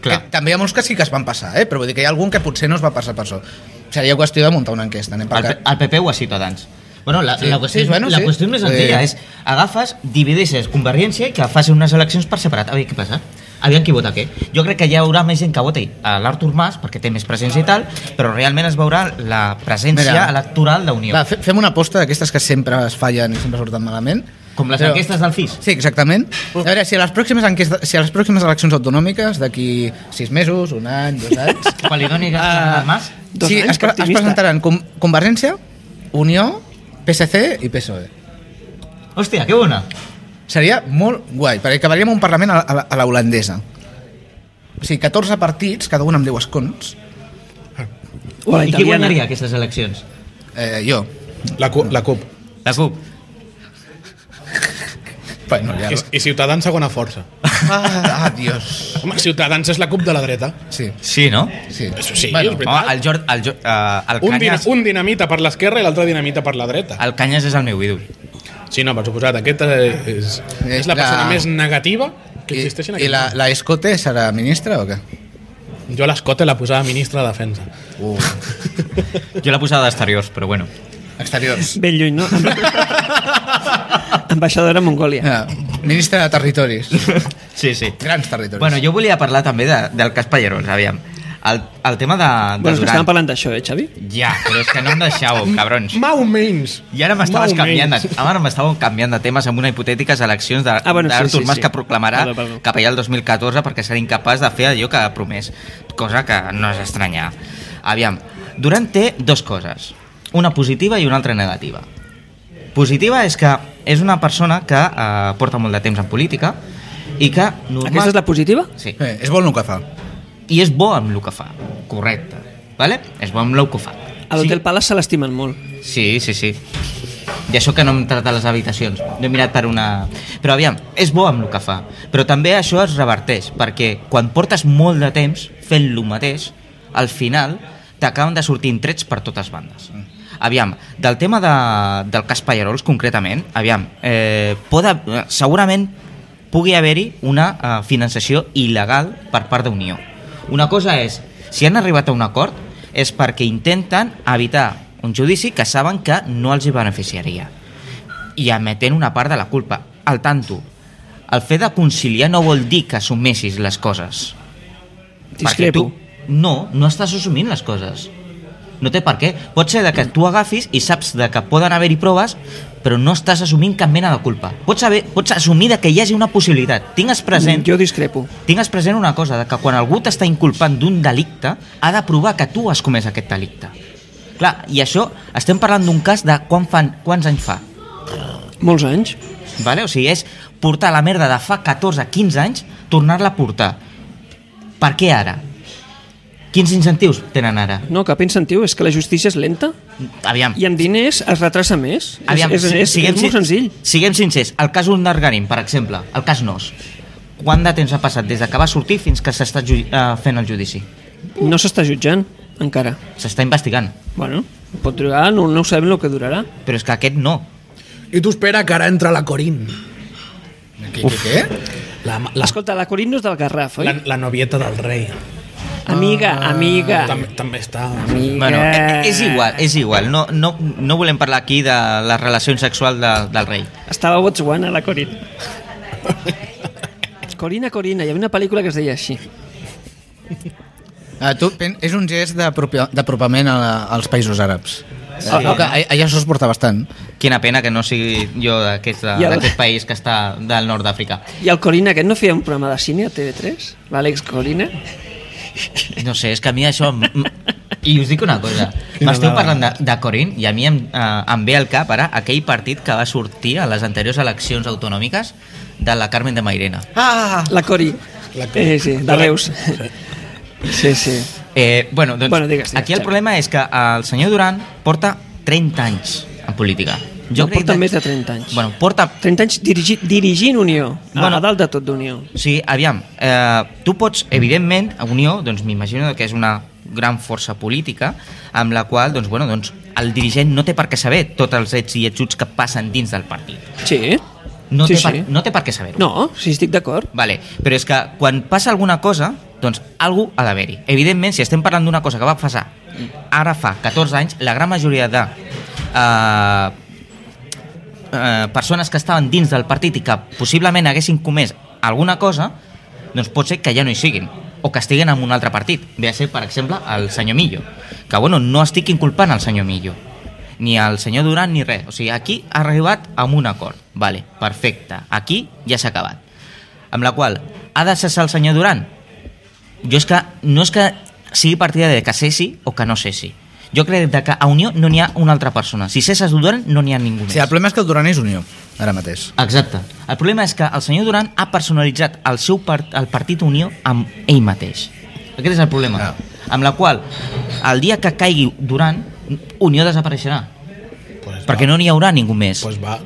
S4: Clar.
S2: Que, Eh, també hi ha molts que sí que es van passar, eh? però vull dir que hi ha algun que potser no es va passar per això. Seria qüestió de muntar una enquesta. Anem per
S4: El,
S2: cap.
S4: P- el PP o a Ciutadans. Bueno, la,
S2: Sí,
S4: la qüestió,
S2: sí,
S4: bueno,
S2: bueno, sí.
S4: la qüestió més senzilla
S2: Eh.
S4: és agafes, divideixes Convergència i que facin unes eleccions per separat. A veure què passa. Aviam qui vota què. Jo crec que hi haurà més gent que voti a l'Artur Mas perquè té més presència i tal, però realment es veurà la presència
S2: Mira.
S4: electoral d'Unió.
S2: Va, fe- fem una aposta d'aquestes que sempre es fallen i sempre surten malament.
S4: Com les
S2: Però-
S4: enquestes del FIS.
S2: Sí, exactament. A veure, si a les pròximes, enquestes, si a les pròximes eleccions autonòmiques, d'aquí sis mesos, un any, dos anys...
S4: Quan li doni
S2: Ah.
S4: uh, Mas...
S3: Dos
S2: sí,
S3: anys,
S2: es, pre- es
S3: optimista.
S2: presentaran com, Convergència, Unió, PSC i PSOE.
S4: Hòstia, que bona.
S2: E. Seria molt guai, perquè acabaríem un Parlament a, a, la- a la holandesa. O sigui, 14 partits, cada un amb 10 escons.
S3: O a la
S4: I qui
S3: italiana.
S4: guanyaria aquestes eleccions?
S2: Eh, jo.
S1: La, Cu- la CUP.
S4: La CUP.
S2: Bueno, ja...
S1: I, I Ciutadans segona força.
S2: Ah, ah, Dios.
S1: Home, Ciutadans és la CUP de la dreta.
S2: Sí,
S4: Sí, no?
S2: sí.
S1: Això sí, és
S2: bueno,
S4: Home,
S1: veritat.
S4: el, Jord, el, Jor, uh, el,
S1: un, dina,
S4: Canyes,
S1: un dinamita per l'esquerra i l'altre dinamita per la dreta.
S4: el Canyes és el meu ídol.
S1: Sí, no, per suposat. Aquesta és, és la
S2: La-
S1: persona més negativa que
S2: I,
S1: existeix en
S2: i
S1: aquest
S2: la, la Escote serà ministra o què?
S1: món. Jo a l'escota la posava ministra de defensa.
S2: Uh,
S4: Jo l'he posada d'exteriors, però bueno.
S2: exteriors.
S3: Ben lluny, no? Ambaixadora a Mongòlia.
S2: Ah, ministra de territoris.
S4: Sí, sí.
S2: Grans territoris.
S4: Bueno, jo volia parlar també de, del cas Pallerols, aviam. El, el tema de, de
S3: Bueno, és Doncs que estàvem
S4: Duran.
S3: parlant d'això, eh, Xavi?
S4: Ja, però és que no em deixàveu, cabrons.
S1: Mau menys!
S4: I ara m'estaves
S1: Mau
S4: canviant,
S1: menys.
S4: de, ara m'estàveu canviant de temes amb una hipotètiques eleccions d'Artur
S3: Ah, bueno, sí, sí,
S4: Mas
S3: sí.
S4: que proclamarà
S3: Perdó, perdó.
S4: cap allà el 2014 perquè serà incapaç de fer allò que ha promès, cosa que no és estranyar. Aviam, Durant té dos coses, una positiva i una altra negativa. Positiva és que és una persona que eh, porta molt de temps en política i que normal...
S3: Aquesta és la positiva?
S4: Sí.
S2: Eh, és bon el que fa.
S4: I és bo amb el que fa, correcte. Vale? És bo amb el que fa.
S3: A l'Hotel Palace se l'estimen molt.
S4: Sí, sí, sí. I això que no hem tratat les habitacions. No he mirat per una... Però aviam, és bo amb el que fa. Però també això es reverteix, perquè quan portes molt de temps fent lo mateix, al final t'acaben de sortir trets per totes bandes. Aviam, del tema de, del cas Pallarols concretament, aviam, eh, poda, segurament pugui haver-hi una eh, finançació il·legal per part d'Unió. Una cosa és, si han arribat a un acord, és perquè intenten evitar un judici que saben que no els hi beneficiaria i emetent una part de la culpa. Al tanto, el fet de conciliar no vol dir que assumeixis les coses. Perquè
S3: Discrepo.
S4: Tu, no, no estàs assumint les coses. No té per què. Pot ser de que tu agafis i saps de que poden haver-hi proves, però no estàs assumint cap mena de culpa. Pots, haver, pots assumir de que hi hagi una possibilitat. Tingues present
S3: Jo discrepo.
S4: tingues present una cosa, de que quan algú t'està inculpant d'un delicte, ha de provar que tu has comès aquest delicte. Clar, i això estem parlant d'un cas de quan fan, quants anys fa.
S3: Molts anys.
S4: Vale? O sigui, és portar la merda de fa 14-15 anys, tornar-la a portar. Per què ara? Quins incentius tenen ara?
S3: No, cap incentiu. És que la justícia és lenta
S4: Aviam.
S3: i amb diners es retrasa més.
S4: Aviam,
S3: és, és, és, és, és molt
S4: sin-
S3: senzill.
S4: Siguem sincers, el cas Undargarin, per exemple, el cas Nos, quant de temps ha passat des de que va sortir fins que s'està ju- eh, fent el judici?
S3: No s'està jutjant, encara.
S4: S'està investigant,
S3: Bueno, pot durar, no, no sabem el que durarà.
S4: però és que aquest no.
S1: I tu espera que ara entra la Corín.
S2: Què, què, què?
S1: La, la,
S3: Escolta, la Corín no és del Garraf, oi?
S1: la, la novieta del rei.
S3: Amiga, amiga.
S1: També, també està...
S3: amiga.
S4: Bueno, eh, és igual, és igual. No, no, no volem parlar aquí de la relació sexual de, del rei.
S3: Estava a Botswana, la Corín. Corina, Corina, hi havia una pel·lícula que es deia així.
S2: Ah, tu, pen- és un gest d'apropia- d'apropament a- als països àrabs. Sí. Que, a- allà això es porta bastant.
S4: Quina pena que no sigui jo d'aquest
S3: I el-
S4: d'aquest país que està del nord d'Àfrica.
S3: I el Corina aquest no feia un programa de cine a TV3? L'Àlex Corina?
S4: No sé, és que a mi això... em- em- I us dic una cosa.
S1: Quina
S4: M'esteu
S1: dada.
S4: parlant de, de Corín i a mi em, eh, em ve al cap ara aquell partit que va sortir a les anteriors eleccions autonòmiques de la Carmen de Mairena.
S2: Ah!
S3: La Cori.
S1: La Cori.
S3: Eh, sí, de Reus. Sí, sí.
S4: Eh, bueno, doncs,
S3: Bueno, digues, digues,
S4: aquí el
S3: Xavi.
S4: problema és que el senyor Duran porta 30 anys en política.
S3: Jo
S4: crec
S3: porta
S4: que-
S3: més de 30 anys.
S4: Bueno, porta
S3: 30 anys dirigi, dirigint Unió. Bueno.
S4: Bueno.
S3: A dalt de tot d'Unió.
S4: Sí, aviam, eh, tu pots, evidentment, a Unió, doncs m'imagino que és una gran força política amb la qual, doncs, bueno, doncs, el dirigent no té per què saber tots els ets i ets que passen dins del partit.
S3: Sí.
S4: No,
S3: sí,
S4: té,
S3: sí.
S4: Per, no té per què saber-ho.
S3: No, sí, estic d'acord.
S4: Vale, però és que quan passa alguna cosa, doncs algú ha d'haver-hi. Evidentment, si estem parlant d'una cosa que va passar ara fa 14 anys, la gran majoria de eh, eh, persones que estaven dins del partit i que possiblement haguessin comès alguna cosa, doncs pot ser que ja no hi siguin o que estiguen en un altre partit. Ve a ser, per exemple, el senyor Millo. Que, bueno, no estic inculpant el senyor Millo, ni el senyor Duran, ni res. O sigui, aquí ha arribat amb un acord. Vale, perfecte. Aquí ja s'ha acabat. Amb la qual ha de cessar el senyor Duran? Jo és que no és que sigui partida de que cessi o que no cessi. Jo crec de que a Unió no n'hi ha una altra persona. Si cesses Duran, no n'hi ha ningú més.
S2: Sí, el problema és que el Duran és Unió, ara mateix.
S4: Exacte. El problema és que el senyor Duran ha personalitzat el seu part, el Partit Unió amb ell mateix. Aquest és el problema.
S2: Ah.
S4: Amb la qual, el dia que caigui Duran, Unió desapareixerà.
S1: Pues
S4: Perquè no n'hi haurà ningú més.
S1: Pues va.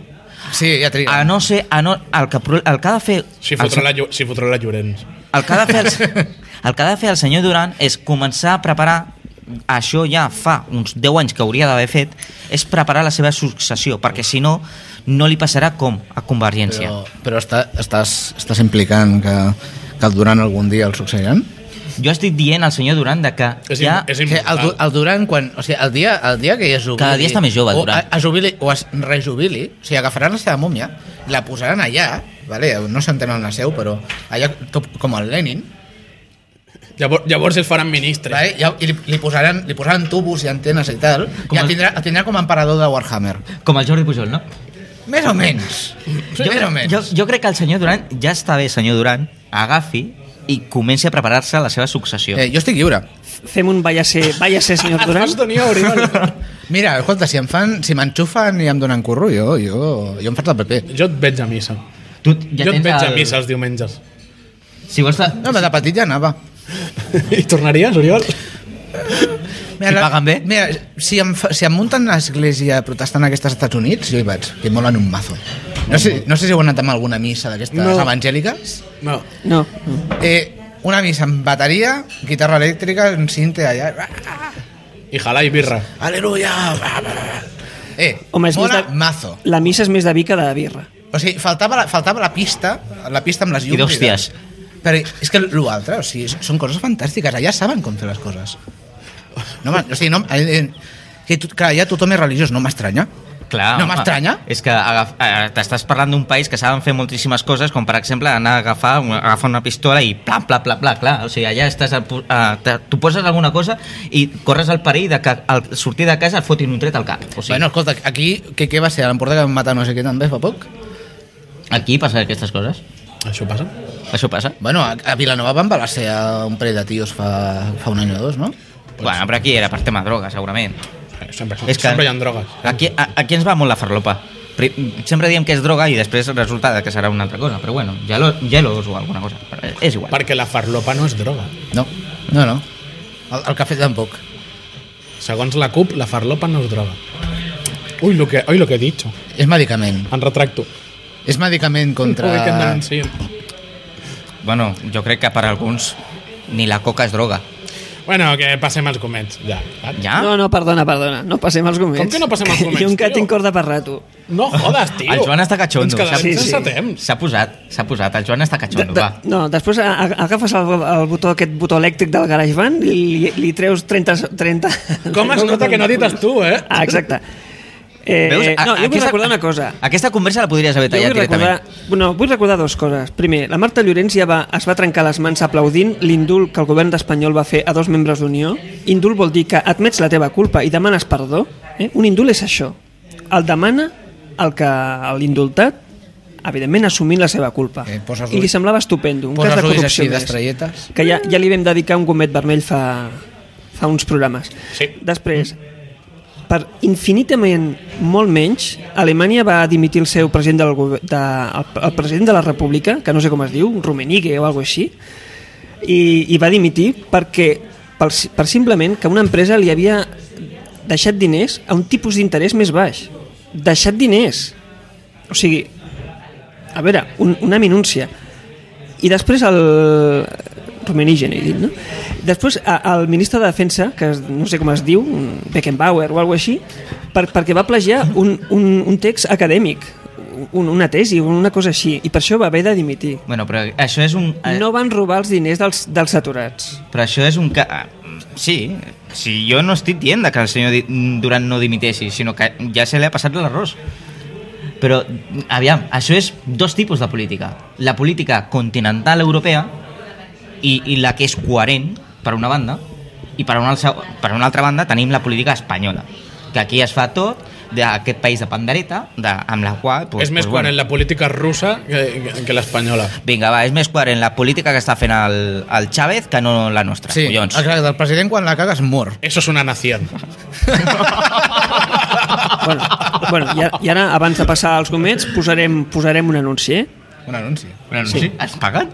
S2: Sí, eh. ja triga.
S4: A no ser... A no, el, que, pro- el que ha de fer...
S1: Si
S4: el
S1: fotrà
S4: se-
S1: la, Llo- si fotrà la Llorenç.
S4: El que ha de fer el, el, que ha de fer el senyor Duran és començar a preparar això ja fa uns 10 anys que hauria d'haver fet és preparar la seva successió perquè si no, no li passarà com a Convergència
S2: Però, però està, estàs, estàs implicant que, que el Duran algun dia el succeiran?
S4: jo estic dient al senyor Duran de que
S1: És,
S4: ja,
S1: ja, és
S2: O sigui, el, Du-
S1: important.
S2: el Duran, quan, o sigui, el, dia, el dia que ja es jubili...
S4: Cada dia està més jove, el
S2: O,
S4: Duran.
S2: a- es jubili, o es rejubili, o sigui, agafaran la seva múmia, la posaran allà, vale? no s'entenen la seu, però allà, com, com el Lenin,
S1: Llavors, llavors el faran ministre.
S2: vale? ja, i li, li, posaran, li posaran tubos i antenes i tal,
S4: Com
S2: i el
S4: el-
S2: tindrà, el tindrà com a emperador de Warhammer.
S4: com el Jordi Pujol, no?
S2: Més o menys. Sí, més o menys.
S4: Jo, jo crec que el senyor Duran, ja està bé senyor Duran, agafi i comenci a preparar-se la seva successió.
S2: Eh, jo estic lliure.
S1: Ah,
S3: Fem un vaya ser, vaya ser senyor Duran.
S1: Has tenia Oriol.
S2: Mira, escolta, si em fan, si m'enxufen i em donen curro, jo, jo, jo em faig el paper.
S1: Jo et veig a missa.
S4: Tu
S1: Ja
S4: ja
S1: jo et
S4: tens
S1: veig a
S4: el-
S1: missa els diumenges.
S4: Si vols... te-
S2: No, però de petit ja anava.
S1: I tornaries, Oriol?
S2: Mira,
S4: I
S2: la-
S4: paguen bé?
S2: Mira, si em, fa- si em munten l'església protestant aquesta als Estats Units, jo hi vaig, que molen un mazo. No sé, no sé si heu anat amb alguna missa d'aquestes
S1: No.
S2: no. evangèliques.
S1: No.
S3: No.
S2: Eh, una missa amb bateria, guitarra elèctrica, un cinte allà...
S1: I jalà i birra.
S2: Aleluia! Eh,
S3: Home, és més
S2: mola
S3: de-
S2: mazo.
S3: La missa és més de vi que de birra.
S2: O sigui, faltava la, faltava la pista, la pista amb les
S4: I
S2: llums.
S4: d'hòsties.
S2: tal. Però és que l'altre, o sigui, són coses fantàstiques. Allà saben com fer les coses. No, m'en- o sigui, no, eh, eh, que, tu- que allà tothom és religiós, no m'estranya.
S4: Clar,
S2: No
S4: home,
S2: m'estranya.
S4: És que agaf- eh, t'estàs parlant d'un país que saben fer moltíssimes coses, com per exemple anar a agafar, una- agafar una pistola i pla, pla, pla, pla, clar. O sigui, allà estàs... al pu- eh, te- tu poses alguna cosa i corres el perill de que al sortir de casa et fotin un tret al cap. O
S2: Sí.
S4: sigui,
S2: Bueno, escolta, aquí, què, què va ser? A l'Empordà que van matar no sé què també fa poc?
S4: aquí passen aquestes coses.
S1: Això passa?
S4: Això passa.
S2: Bueno, a, a Vilanova van valer ser a un parell de tios fa, fa un any o dos, no?
S4: Bueno, però aquí era per tema droga, segurament.
S1: Eh, Sempre,
S4: És que-
S1: sempre hi ha drogues.
S4: Aquí, a, aquí ens va molt la farlopa. Pri- Sempre diem que és droga i després resulta que serà una altra cosa, però bueno, gelo, gelos o alguna cosa, però és igual.
S1: Perquè la farlopa no és droga.
S2: No, no, no. El, el cafè tampoc.
S1: Segons la CUP, la farlopa no és droga. Uy, lo que, uy, lo que he dicho.
S2: És medicament.
S1: En retracto.
S2: És medicament
S1: Ho veig que em
S2: contra...
S1: denuncien.
S4: Bueno, jo crec que per alguns ni la coca és droga.
S1: Bueno, que passem als comets, ja.
S4: Ja?
S3: No, no, perdona, perdona. No passem als gomets.
S1: Ah? Com que no passem als gomets,
S3: Jo encara
S1: tio?
S3: tinc corda per rato.
S1: No jodes, tio.
S4: El Joan està catxondo,
S1: Ens quedarem
S3: sí,
S1: sí,
S3: sí.
S1: sense temps.
S4: S'ha posat, s'ha posat, el Joan està
S1: Doncs
S3: De,
S4: catxondo,
S3: de,
S4: va.
S3: no, després a- a- agafes el, el botó, aquest botó elèctric del GarageBand i li, li treus 30... 30
S1: Com es nota que no dites tu, eh?
S3: Ah, exacte. Eh,
S4: A-
S3: no, jo vull recordar una cosa.
S4: Aquesta conversa la podries haver
S3: Jo
S4: tallat
S3: vull recordar,
S4: directament.
S3: no, vull recordar dues coses. Primer, la Marta Llorenç ja va, es va trencar les mans aplaudint l'indult que el govern d'Espanyol va fer a dos membres d'Unió. Indult vol dir que admets la teva culpa i demanes perdó. Eh? Un indult és això. El demana el que l'indultat evidentment assumint la seva culpa
S2: Eh, poses
S3: i li
S2: ulls-
S3: semblava estupendo un
S2: poses
S3: cas de
S2: ulls
S3: corrupció
S2: així
S3: més.
S2: d'estrelletes.
S3: que ja, ja li vam dedicar un gomet vermell fa, fa uns programes
S1: Sí.
S3: després per infinitament molt menys, Alemanya va dimitir el seu president del gover- de, el, el president de la República, que no sé com es diu, Rummenigge o alguna així, i, i va dimitir perquè per, si- per simplement que una empresa li havia deixat diners a un tipus d'interès més baix. Deixat diners. O sigui, a veure, un, una minúncia. I després el... Rumenigen, he dit, no? Després a- el ministre de Defensa, que es- no sé com es diu, un Beckenbauer o alguna així, per, perquè va plagiar un, un, un text acadèmic, un, una tesi, una cosa així, i per això va haver de dimitir.
S4: Bueno, però això és un... eh,
S3: No van robar els diners dels, dels aturats.
S4: Però això és un... Ca... ah, Sí, sí, jo no estic dient que el senyor Di- Duran no dimiteixi, sinó que ja se li ha passat l'arròs. Però, mm, aviam, això és dos tipus de política. La política continental europea i, i la que és coherent, per una banda, i per una, alça- per una altra banda tenim la política espanyola, que aquí es fa tot d'aquest país de pandereta, de, amb la qual...
S1: És més quan en la política russa que, que- que l'espanyola.
S4: Vinga, va, és més coherent la política que està fent el, el Chávez que no la nostra,
S2: Sí,
S4: collons.
S2: exacte, el president quan la caga es mor.
S1: Eso es una nació.
S3: Bueno, bueno i, ara, i ara, abans de passar als gomets, posarem, posarem un anunci, eh?
S2: Un anunci.
S4: Bueno,
S3: Sí.
S4: Es paguen?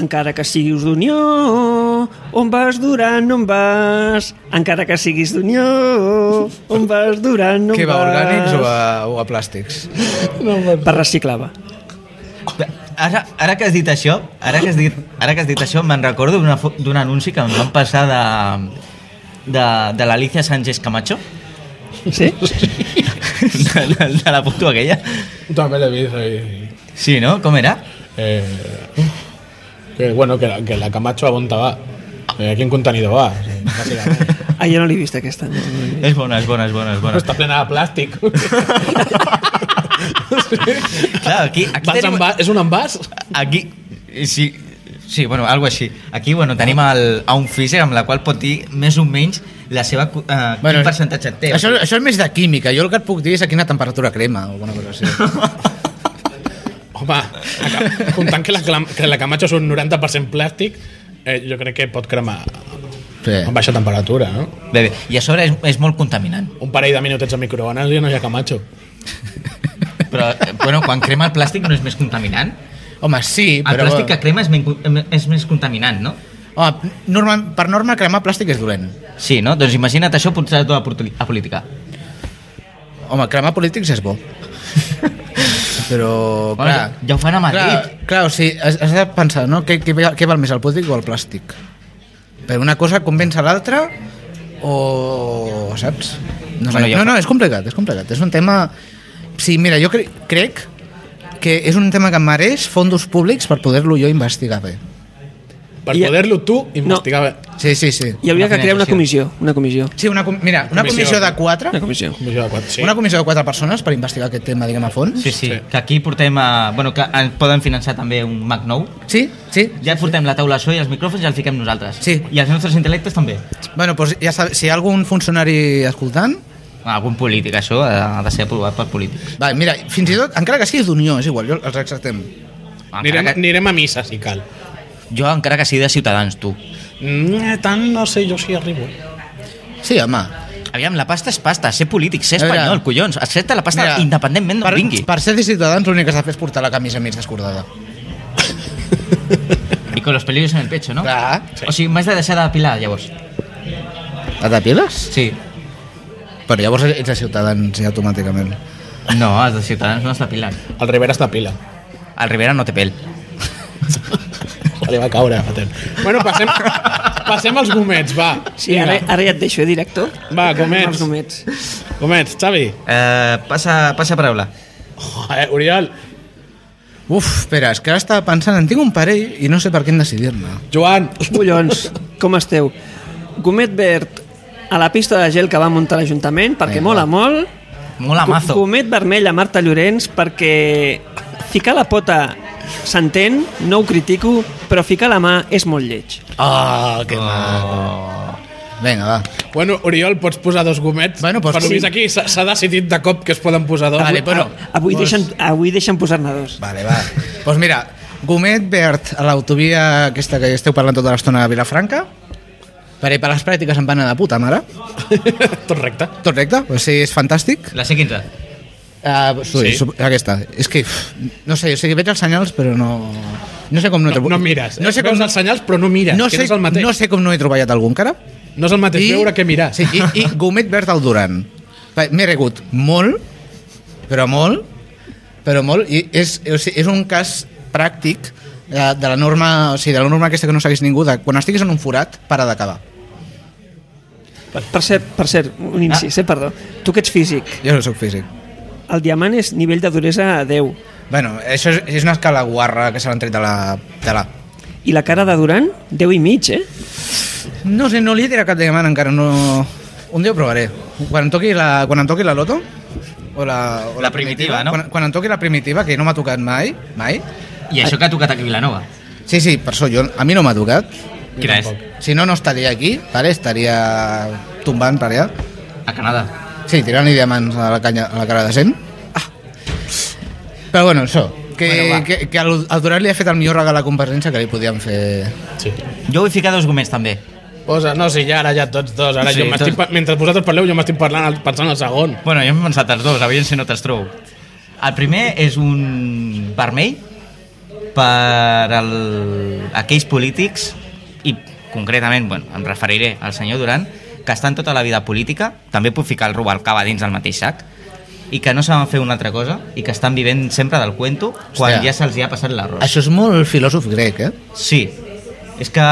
S3: Encara que siguis d'Unió, on vas durant, on vas. Encara que siguis d'Unió, on vas durant, on
S2: Què va,
S3: vas.
S2: orgànics o a, o a plàstics?
S3: Per reciclava.
S4: Ara, ara que has dit això, ara que has dit, ara que has dit això, me'n recordo d'una fo- d'un anunci que em van passar de, de, de l'Alicia Sánchez Camacho,
S3: Sí?
S4: de, de, de la foto aquella.
S1: També l'he vist. ahí.
S4: Sí, no? Com era?
S1: Eh, que, bueno, que la, que la Camacho a on va. Eh, quin contenidor va? O sigui, bàsicament.
S3: Ah, jo no l'he vist aquesta. No, no l'he vist.
S4: És bona, és bona, és bona, és bona.
S1: Està plena de plàstic.
S4: Clar, aquí, aquí
S1: Vas
S4: tenim...
S1: envà- és un envàs?
S4: Aquí, sí, sí, bueno, algo així. Aquí, bueno, tenim el, a un físic amb la qual pot dir més o menys la seva... cu- Eh, bueno, quin percentatge té.
S2: Això, això és més de química. Jo el que et puc dir és a quina temperatura crema o alguna cosa així.
S1: Home, comptant que la, clam- que la Camacho és un 90% plàstic, eh, jo crec que pot cremar
S2: Sí.
S1: Amb baixa temperatura, no?
S4: Bé, bé. I a sobre és, és molt contaminant.
S1: Un parell de minutets al microones i no hi ha Camacho.
S4: Però, eh, bueno, quan crema el plàstic no és més contaminant?
S2: Home, sí,
S4: El
S2: però...
S4: plàstic que crema és, men- és més contaminant, no?
S2: Home, normal, per norma cremar plàstic és dolent.
S4: Sí, no? Doncs imagina't això potser a, porti- a política.
S2: Home, cremar polítics és bo. però,
S4: Home,
S2: clar...
S4: ja ho fan a Madrid.
S2: Clar, clar o sigui, has, has de pensar, no? Què, què, què val més, el polític o el plàstic? Però una cosa convenç a l'altra o... saps? No,
S4: Bueno,
S2: sé,
S4: ja
S2: no,
S4: fa-
S2: no, és complicat, és complicat. És un tema... Sí, mira, jo cre crec que és un tema que mereix fondos públics per poder-lo jo investigar bé.
S1: Per
S3: I-
S1: poder-lo tu investigar no. bé.
S2: Sí, sí, sí.
S3: Hi hauria
S4: Una
S3: que crear una
S4: financiació.
S3: comissió, una comissió.
S2: Sí, una, com- mira, una
S1: Comissió.
S2: comissió de quatre,
S3: Una comissió.
S1: Comissió de quatre,
S2: sí.
S1: sí.
S2: una comissió de quatre persones per investigar aquest tema, diguem, a fons.
S4: Sí, sí, sí, que aquí portem a... Bueno, que ens poden finançar també un Mac nou.
S2: Sí, sí.
S4: Ja portem la taula això i els micròfons i els fiquem nosaltres.
S2: Sí.
S4: I els nostres intel·lectes també.
S2: Bueno, doncs ja sabeu, si hi ha algun funcionari escoltant,
S4: Algun polític, això eh, ha ha de ser aprovat per polítics.
S2: va, mira, fins i tot, encara que siguis d'Unió, és igual, jo els acceptem.
S1: Anirem,
S4: Encara que,
S1: anirem a missa, si cal.
S4: jo encara que sigui de Ciutadans, tu.
S1: Mm, tant no sé jo si arribo. eh?
S2: Sí, home.
S4: Aviam, la pasta és pasta, ser polític, ser
S2: A veure.
S4: espanyol, collons. Accepta la pasta
S2: Mira,
S4: independentment d'on
S2: per,
S4: vingui.
S2: Per ser de Ciutadans l'únic que s'ha de fer és portar la camisa mig descordada.
S4: I con los pelillos en el pecho, no?
S2: Clar.
S4: Sí. O sigui, m'has de deixar d'apilar, llavors.
S2: Et depiles?
S4: Sí.
S2: Ah. Però llavors ets de Ciutadans ja automàticament.
S4: No, els de Ciutadans no es depilen.
S1: El Rivera està pila.
S4: Al Rivera no té pèl.
S1: Li va caure. patent. Bueno, passem, passem als gomets, va.
S3: Sí, ara, ara ja et deixo, eh, director?
S1: Va, gomets.
S3: Els gomets.
S1: Gomets, Xavi.
S4: Eh, passa, passa paraula.
S1: Joder, Oriol.
S2: Uf, espera, és que ara estava pensant, en tinc un parell i no sé per quin decidir-ne.
S1: Joan.
S3: Collons, com esteu? Gomet verd a la pista de gel que va muntar l'Ajuntament, perquè
S2: Vinga.
S3: mola molt.
S4: Mola mazo.
S3: Go- Gomet vermell a Marta Llorenç, perquè ficar la pota s'entén, no ho critico, però ficar la mà és molt lleig.
S2: Oh, que maco. Vinga, va.
S1: Ah, Bueno, Oriol, pots posar dos gomets?
S2: Bueno, doncs
S1: Però
S2: sí.
S1: fins aquí s'ha s'ha decidit de cop que es poden posar dos.
S2: Vale, bueno, doncs-
S3: A- Ah, avui, deixen, avui deixen posar-ne dos.
S2: Vale, va. Doncs pues mira, Gomet Verd, a l'autovia aquesta que esteu parlant tota l'estona de Vilafranca, per, per les pràctiques em van anar de puta mare.
S1: Tot recte.
S2: Tot recte, o sigui, és fantàstic.
S4: La C15.
S2: Uh, sí.
S1: Sí.
S2: Aquesta. És que, uf, no sé, o sigui, veig els senyals, però no... No sé com no, he
S1: No, no
S2: trobat-
S1: mires.
S2: No sé com,
S1: Veus els senyals, però no mires.
S2: no
S1: que
S2: sé,
S1: no és el mateix.
S2: no sé com no he trobat algun, cara.
S1: No és el mateix I... veure que mirar.
S2: Sí, i, i Gomet Verd al Duran. Va, M'he regut molt, però molt, però molt, i és, o sigui, és un cas pràctic de, de la norma, o sigui, de la norma aquesta que no segueix ningú, de quan estiguis en un forat, para d'acabar.
S3: Per cert, per cert un incís, eh, perdó. Tu que ets físic,
S2: Jo no sóc físic.
S3: el diamant és nivell de duresa 10
S2: Bueno, això és, és una escala guarra que se l'han tret de la, de la...
S3: i la cara de Duran, 10 i mig, eh?
S2: No sé, no li he tirat cap de diamant encara, no... Un dia ho provaré. Quan em toqui la, quan em toqui la loto, o la, o
S4: La primitiva, no?
S2: Quan, quan em toqui la primitiva, que no m'ha tocat mai, mai,
S4: I això que ha tocat aquí a Vilanova.
S2: Sí, sí, per això jo, a mi no m'ha tocat.
S4: Quina és?
S2: Si no, no estaria aquí, vale? estaria tombant per allà.
S4: A Canadà.
S2: Sí, tirant-li diamants a la, canya, a la cara de gent. Ah. Però bueno, això, que,
S4: Bueno, va.
S2: bueno, que, que el, el Durant li ha fet el millor regal a la Convergència que li podíem fer...
S1: sí.
S4: Jo vull ficar dos gomets també.
S1: Posa, no, sí, ja ara ja tots dos. Ara
S4: Sí,
S1: sí, jo m'estic...
S4: tots-
S1: pa- Mentre vosaltres parleu, jo m'estic parlant al- pensant al segon.
S4: Bueno, jo m'he pensat els dos, aviam si no te'ls trobo. El primer és un vermell per el... aquells polítics i concretament, bueno, em referiré al senyor Duran, que estan tota la vida política, també puc ficar el Rubalcaba dins del mateix sac, i que no saben fer una altra cosa i que estan vivent sempre del cuento quan
S2: Hòstia.
S4: ja se'ls hi ha passat l'arròs.
S2: Això és molt filòsof grec, eh?
S4: Sí, és que...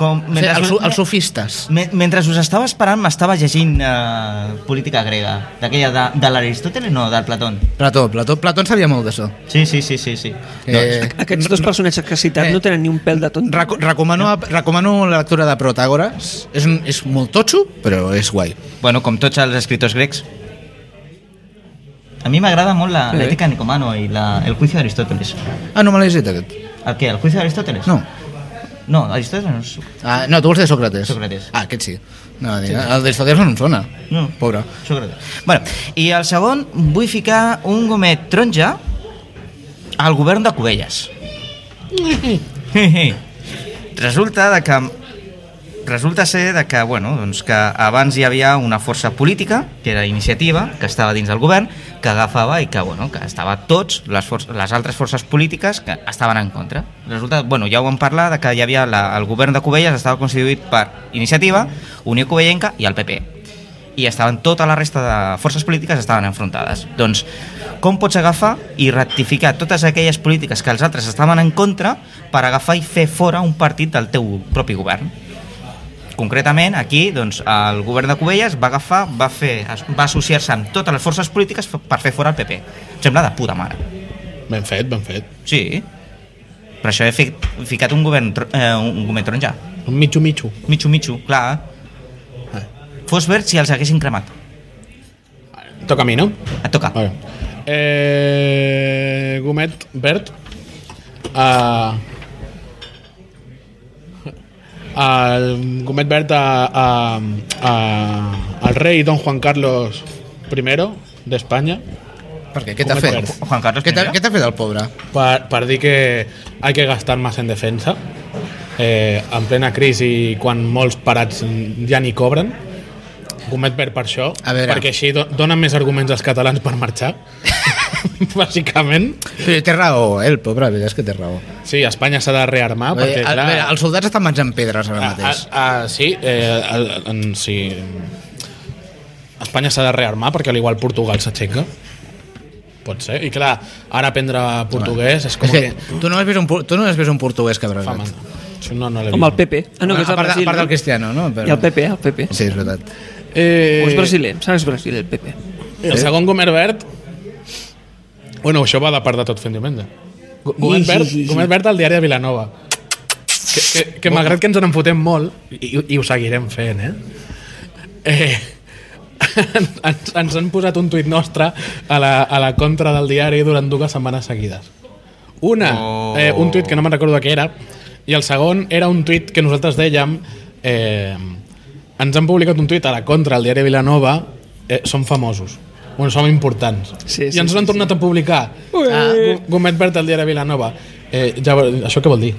S4: Com,
S2: O sigui, els, so- els sofistes.
S4: Me- Mentre us estava esperant m'estava llegint eh, política grega, d'aquella de, de l'Aristòteles, no, del Platón.
S2: Plató, Plató, Plató en sabia molt d'això.
S4: Sí, sí, sí, sí. Doncs, sí.
S2: Eh,
S3: Aquests dos personatges que has citat
S2: Eh.
S3: no tenen ni un pèl de tonto.
S2: Reco recomano, a, recomano la lectura de Protàgores. És, un, és molt totxo, però és guai.
S4: Bueno, com tots els escriptors grecs. A mi m'agrada molt la-
S3: Bé.
S4: l'ètica nicomano i la, el juicio d'Aristòteles.
S2: Ah, no me l'he llegit aquest.
S4: El què? El juicio d'Aristòteles?
S2: No.
S4: No, Aristòteles no. és-
S2: Ah, no, tu vols de Sócrates.
S4: Sócrates.
S2: Ah, aquest sí. No, sí. El de Sócrates no em sona.
S4: No.
S2: Pobre.
S4: Sócrates. Bueno, I el segon, vull ficar un gomet taronja al govern de Cubelles. Resulta de que resulta ser de que, bueno, doncs que abans hi havia una força política, que era iniciativa, que estava dins del govern, que agafava i que, bueno, que estava tots les, for les altres forces polítiques que estaven en contra. Resulta, bueno, ja ho vam parlar, de que hi havia la, el govern de Covelles estava constituït per iniciativa, Unió Covellenca i el PP i estaven tota la resta de forces polítiques estaven enfrontades. Doncs, com pots agafar i rectificar totes aquelles polítiques que els altres estaven en contra per agafar i fer fora un partit del teu propi govern? Concretament, aquí, doncs, el govern de Cubelles va agafar, va, fer, va associar-se amb totes les forces polítiques per fer fora el PP. Em sembla de puta mare.
S1: Ben fet, ben fet.
S4: Sí, per això he fic, ficat un govern, tro- eh, un govern taronja.
S1: Un mitjo-mitjo.
S4: Mitxo, mitxo, clar. Fos verd si els haguessin cremat.
S1: Toca a mi, no?
S4: Et toca.
S1: Vale. Eh, gomet verd. Uh, el gomet verd a, a, a, al rei Don Juan Carlos I d'Espanya
S2: Per què? Què t'ha
S1: Com
S2: fet?
S1: et
S4: Ju- Juan Carlos
S2: Què t'ha
S4: I.
S2: què t'ha fet el pobre?
S1: per, per dir que hay que gastar más en defensa eh, en plena crisi quan molts parats ja ni cobren Gomet verd per això,
S2: A veure.
S1: perquè així do- donen més arguments als catalans per marxar bàsicament
S2: Però té raó, eh, el pobre, la veritat és que té raó.
S1: Sí, Espanya s'ha de
S4: Ah,
S1: rearmar
S2: Vull dir,
S1: perquè,
S2: a,
S1: clar...
S2: a veure, els soldats estan menjant pedres ara
S1: a, a,
S2: mateix.
S1: a, sí, eh, a, en, sí... Espanya s'ha de rearmar perquè al igual Portugal s'aixeca. Pot ser. I clar, ara aprendre portuguès és com
S2: és
S1: que...
S2: que tu no has vist un, por- tu no has vist un portuguès que hauràs
S1: Fa
S2: vist.
S1: mandra. Això no, no l'he
S3: Amb el
S1: vist.
S3: PP. Ah, no, que és
S2: a
S3: el
S2: part,
S3: Brasil.
S2: a part del
S3: no?
S2: Cristiano, no? Però...
S3: I el PP, el PP.
S2: Sí, és veritat.
S1: Eh,
S3: O és brasiler, em sembla que és brasiler, el PP.
S1: El segon Gomer Verd... Bueno, això va de part de tot fent diumenge. Go- Gomer,
S3: Sí, sí,
S1: Verd,
S3: sí, sí.
S1: Gomer Verd al diari de Vilanova. Que, que, que malgrat que ens en fotem molt, i, i ho seguirem fent, eh? eh ens, ens han posat un tuit nostre a la, a la contra del diari durant dues setmanes seguides. Una,
S4: Oh.
S1: eh, un tuit que no me'n recordo de què era, i el segon era un tuit que nosaltres dèiem... Eh, ens han publicat un tuit a la contra del diari Vilanova, eh, som famosos. Bueno, som importants.
S3: Sí, sí,
S1: I ens
S3: sí,
S1: l'han tornat a publicar. Ah, Go- Gomet Verd al diari Vilanova. Eh, ja, ve- això què vol dir?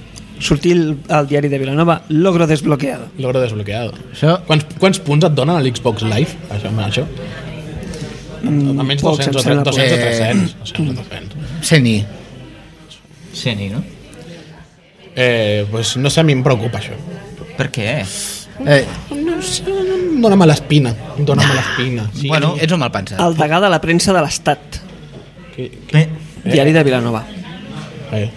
S3: Sortir el, al diari de Vilanova, logro desbloqueado.
S1: L'hora desbloqueado.
S2: Això...
S1: Quants, quants punts et donen a l'Xbox Live? Això, amb això? Almenys
S3: pocs,
S1: 200 o
S3: Mm, em sembla, Eh.
S1: 300 o
S2: pocs.
S1: 300. 200 o 300.
S2: Seni.
S4: Sí, no?
S1: Eh, pues no sé, a mi em preocupa això.
S4: Per què?
S2: Eh,
S1: Dóna'm l'espina, dóna'm l'espina. Sí.
S4: Bueno,
S2: ets un mal pensat.
S3: El degà de la premsa de l'Estat,
S1: Que,
S4: Pe
S3: diari de Vilanova.
S1: eh,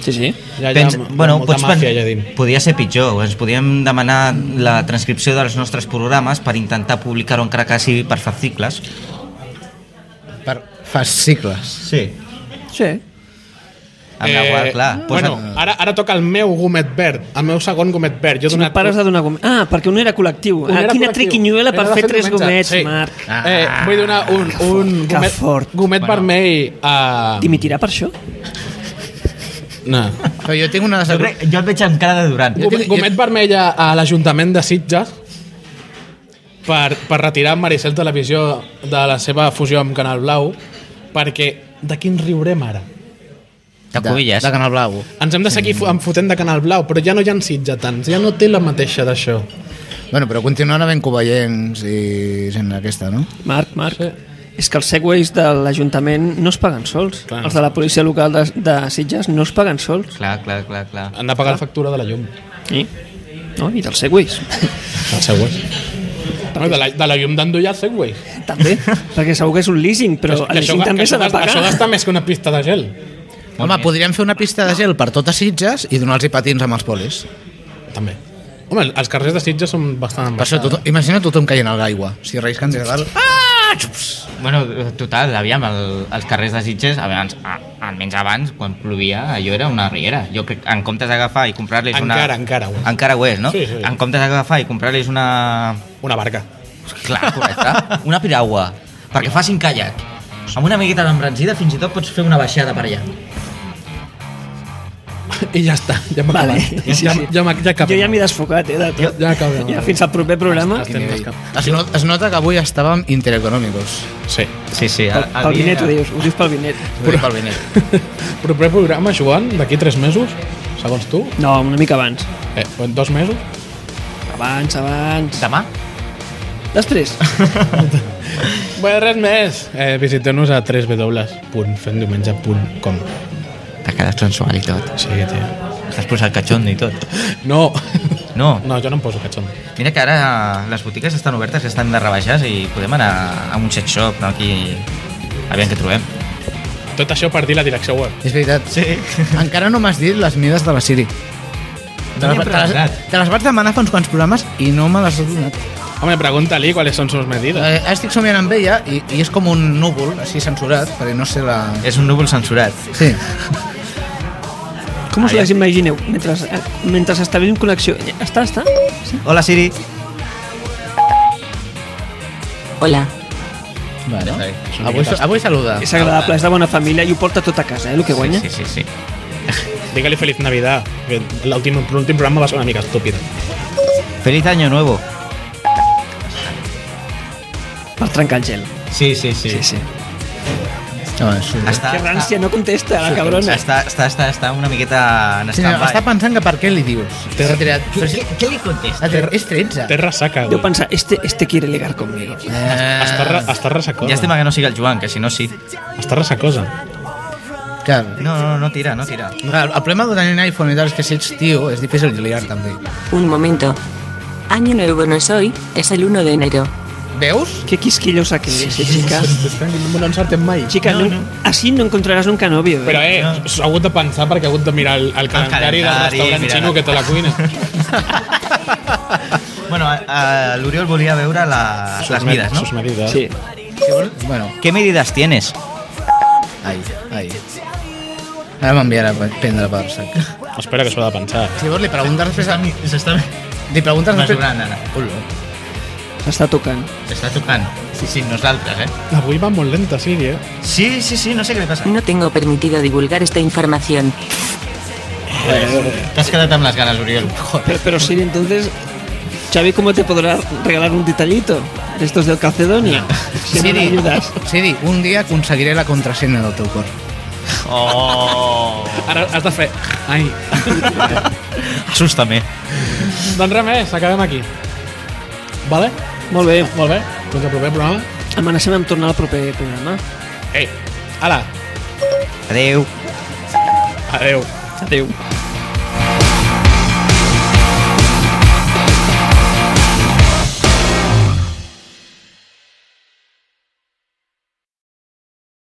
S3: Sí, sí.
S1: ja, ja,
S4: pens
S1: hi ha
S4: bueno,
S1: molta
S4: pots
S1: màfia, ja
S4: pen
S1: dim.
S4: podia ser pitjor. Ens podíem demanar la transcripció dels nostres programes per intentar publicar-ho encara que sigui per fascicles.
S2: Per fascicles.
S4: Sí.
S3: Sí.
S4: Amb eh, la qual, clar, posa...
S1: bueno, ara, ara toca el meu gomet verd, el meu segon gomet verd. Jo he
S3: Si no
S1: donat
S3: pares de donar gomet. Ah, perquè un era col·lectiu.
S1: Un
S3: ah,
S1: era
S3: quina
S1: col·lectiu.
S3: triquinyuela per
S1: Era de
S3: fer tres
S1: diumenge.
S3: gomets, sí. Marc.
S1: Ah, eh, vull donar un, un
S3: que
S1: gomet,
S3: fort.
S1: gomet
S4: Bueno.
S1: vermell a...
S3: Dimitirà per això?
S1: No.
S2: Però jo tinc una
S4: jo,
S2: desagradable...
S4: crec, jo el veig amb cara de Durant.
S2: Jo
S1: Gomet,
S2: tinc-
S1: gomet vermell a, a l'Ajuntament de Sitges per, per retirar Maricel Televisió de la seva fusió amb Canal Blau perquè de quin riurem ara?
S4: De Cubillas.
S2: De, de Canal Blau.
S1: Ens hem de seguir fo- en fotent de Canal Blau, però ja no hi ha sitgetans, ja no té la mateixa d'això.
S2: Bueno, però continuen havent covellents i gent aquesta, no?
S3: Marc, Marc. És que els segways de l'Ajuntament no es paguen sols.
S1: Clar, no.
S3: els de la policia local de, de Sitges no es paguen sols.
S4: Clar, clar, clar, clar.
S1: Han de pagar la factura de la llum.
S3: I? No, i dels segways.
S1: El Segway. No, de, la, de la llum d'endollar el Segway.
S3: també. perquè segur que és un leasing, però
S1: Que
S3: el leasing
S1: ga-
S3: també
S1: això
S3: s'ha de
S1: gas-
S3: pagar.
S1: Això gasta més que una pista de gel.
S2: Home, podríem fer una pista de gel per totes Sitges i donar-los patins amb els polis.
S1: També. Home, els carrers de Sitges són bastant
S2: Per això, tot, imagina tothom caient a l'aigua. Si reis cants de dalt...
S4: Bueno, total, aviam, el, els carrers de Sitges, abans, a, almenys abans, quan plovia, allò era una riera. Jo crec, en comptes d'agafar i comprar-los una...
S1: Encara, encara ho és.
S4: Encara ho és, no?
S1: Sí, sí.
S4: En comptes d'agafar i comprar-los una...
S1: Una barca.
S4: Clar, correcte. Una piragua, perquè facin kayak. Amb una amigueta d'embranzida fins i tot pots fer una baixada per allà.
S1: I ja està, ja m'ha
S3: Vale.
S1: acabat. Ja, ja, ja, m'ha- ja acabem.
S3: Jo ja m'he desfocat, eh, de
S1: Ja,
S3: tot.
S1: ja acabem.
S3: Ja, fins al proper programa.
S1: Estem descap-
S2: Ah! Es, not, es nota que avui estàvem intereconòmicos.
S1: Sí.
S4: Sí, sí.
S3: Pel, pel vinet ho dius, ho dius pel vinet.
S2: Ho dic pel Vinet.
S1: Proper programa, Joan, d'aquí tres mesos, segons tu.
S3: No, una mica abans.
S1: Eh, dos mesos?
S3: Abans, abans.
S4: Demà?
S3: Després.
S1: Bé, res més. Eh, Visiteu-nos a www.fendiumenge.com
S4: T'ha quedat sensual i tot.
S1: Sí, tio.
S4: T'has posat catxondo i tot.
S1: No.
S4: No.
S1: No, jo no em poso catxon.
S4: Mira que ara les botigues estan obertes, que estan de rebaixes i podem anar a un sex shop no? aquí aviam què trobem.
S1: Tot això per dir la direcció web.
S2: És veritat.
S4: Sí.
S2: Encara no m'has dit les mides de la Siri. Te
S4: No
S2: les, te, les,
S4: m'hi he preguntat.
S2: te les vaig demanar fa uns quants programes i no me les has donat.
S1: Home, pregunta-li quales són sus medidas.
S2: Eh, estic somiant amb ella i, i és com un núvol, així censurat, perquè no sé la...
S4: És un núvol censurat.
S2: Sí.
S3: Com us les imagineu? Mentre, eh, mentre establim connexió. Està, està? Sí.
S4: Hola Siri.
S5: Hola.
S2: Bueno,
S1: una
S2: avui,
S1: miqueta-
S2: avui saluda.
S3: És agradable, és de bona família i ho porta tot a casa, eh, el que guanya.
S4: Sí, sí, sí. sí.
S1: Digue-li Feliz Navidad, que l'últim l'últim programa va ser una mica estúpid.
S4: Feliz año nuevo.
S3: Per trencar el gel.
S4: Sí, sí, sí.
S3: Sí, Ah, sí.
S2: No, és...
S4: Està,
S3: Que rància, no contesta, la
S4: està,
S3: cabrona.
S4: està, està, està, està una miqueta en
S2: Sí, no,
S4: stand-by.
S2: està pensant que per què li dius.
S1: Té-
S2: S'ha tirat.
S4: Què,
S2: Però si-
S4: què, què li
S2: s'ha
S4: contesta?
S2: tirat- Ah, És 13.
S1: Té ressaca,
S3: Deu
S1: avui.
S3: pensar, este, este quiere ligar conmigo.
S2: Eh,
S1: Està, re- està ressacosa.
S4: Llàstima que no sigui el Joan, que si no sí.
S1: Està ressacosa.
S2: clar,
S4: No, no, no tira, no tira.
S2: Clar, el problema de tenir un iPhone i tal és que si ets tio és difícil de liar també.
S7: Un momento. Año nuevo no soy, es el 1 de enero.
S2: Veus?
S3: Qué quisquillosa que es, eh, chica.
S1: No ens sortim mai.
S3: Chica, no, así no encontrarás nunca novio. eh.
S1: Però, eh, s'ho ha hagut de pensar perquè ha hagut de mirar el, el calendari del
S4: calendari,
S1: restaurant
S4: mira.
S1: xino que te la cuina.
S4: Bueno, eh, l'Oriol volia veure la, les
S1: med-
S4: mides,
S1: Sus
S4: no?
S1: medidas.
S3: Sí.
S2: Si vols, bueno,
S4: Què medides tienes?
S2: ai, ai. Ara m'enviarà a prendre per sac.
S1: Espera que s'ho ha de pensar.
S2: Si vols, li preguntes després a mi.
S4: S'està
S2: Li preguntes després...
S4: mesurant, ara.
S2: Olo.
S3: S'està tocant.
S4: S'està tocant. Sí, sí, nosaltres, eh?
S1: Avui va molt lenta, Siri, eh?
S4: Sí, sí, sí, no sé què li passa.
S7: No tengo permitido divulgar esta información.
S4: T'has quedat amb les ganes, Oriol.
S3: Pero, pero sí, entonces, Xavi, ¿cómo te podrá regalar un detallito? De Estos del Calcedonia. Si no me
S2: Siri,
S3: ayudas.
S2: Siri, un dia aconseguiré la contrasenya del teu cor.
S4: Oh!
S1: Ara has de fer... Ai.
S4: Assusta-me.
S1: Doncs res més, acabem aquí. Vale?
S3: Molt bé,
S1: Molt bé. Doncs el proper programa...
S3: amenacem amb tornar al proper programa.
S1: Ei, ala,
S4: Adeu.
S1: adeu.
S3: Adéu.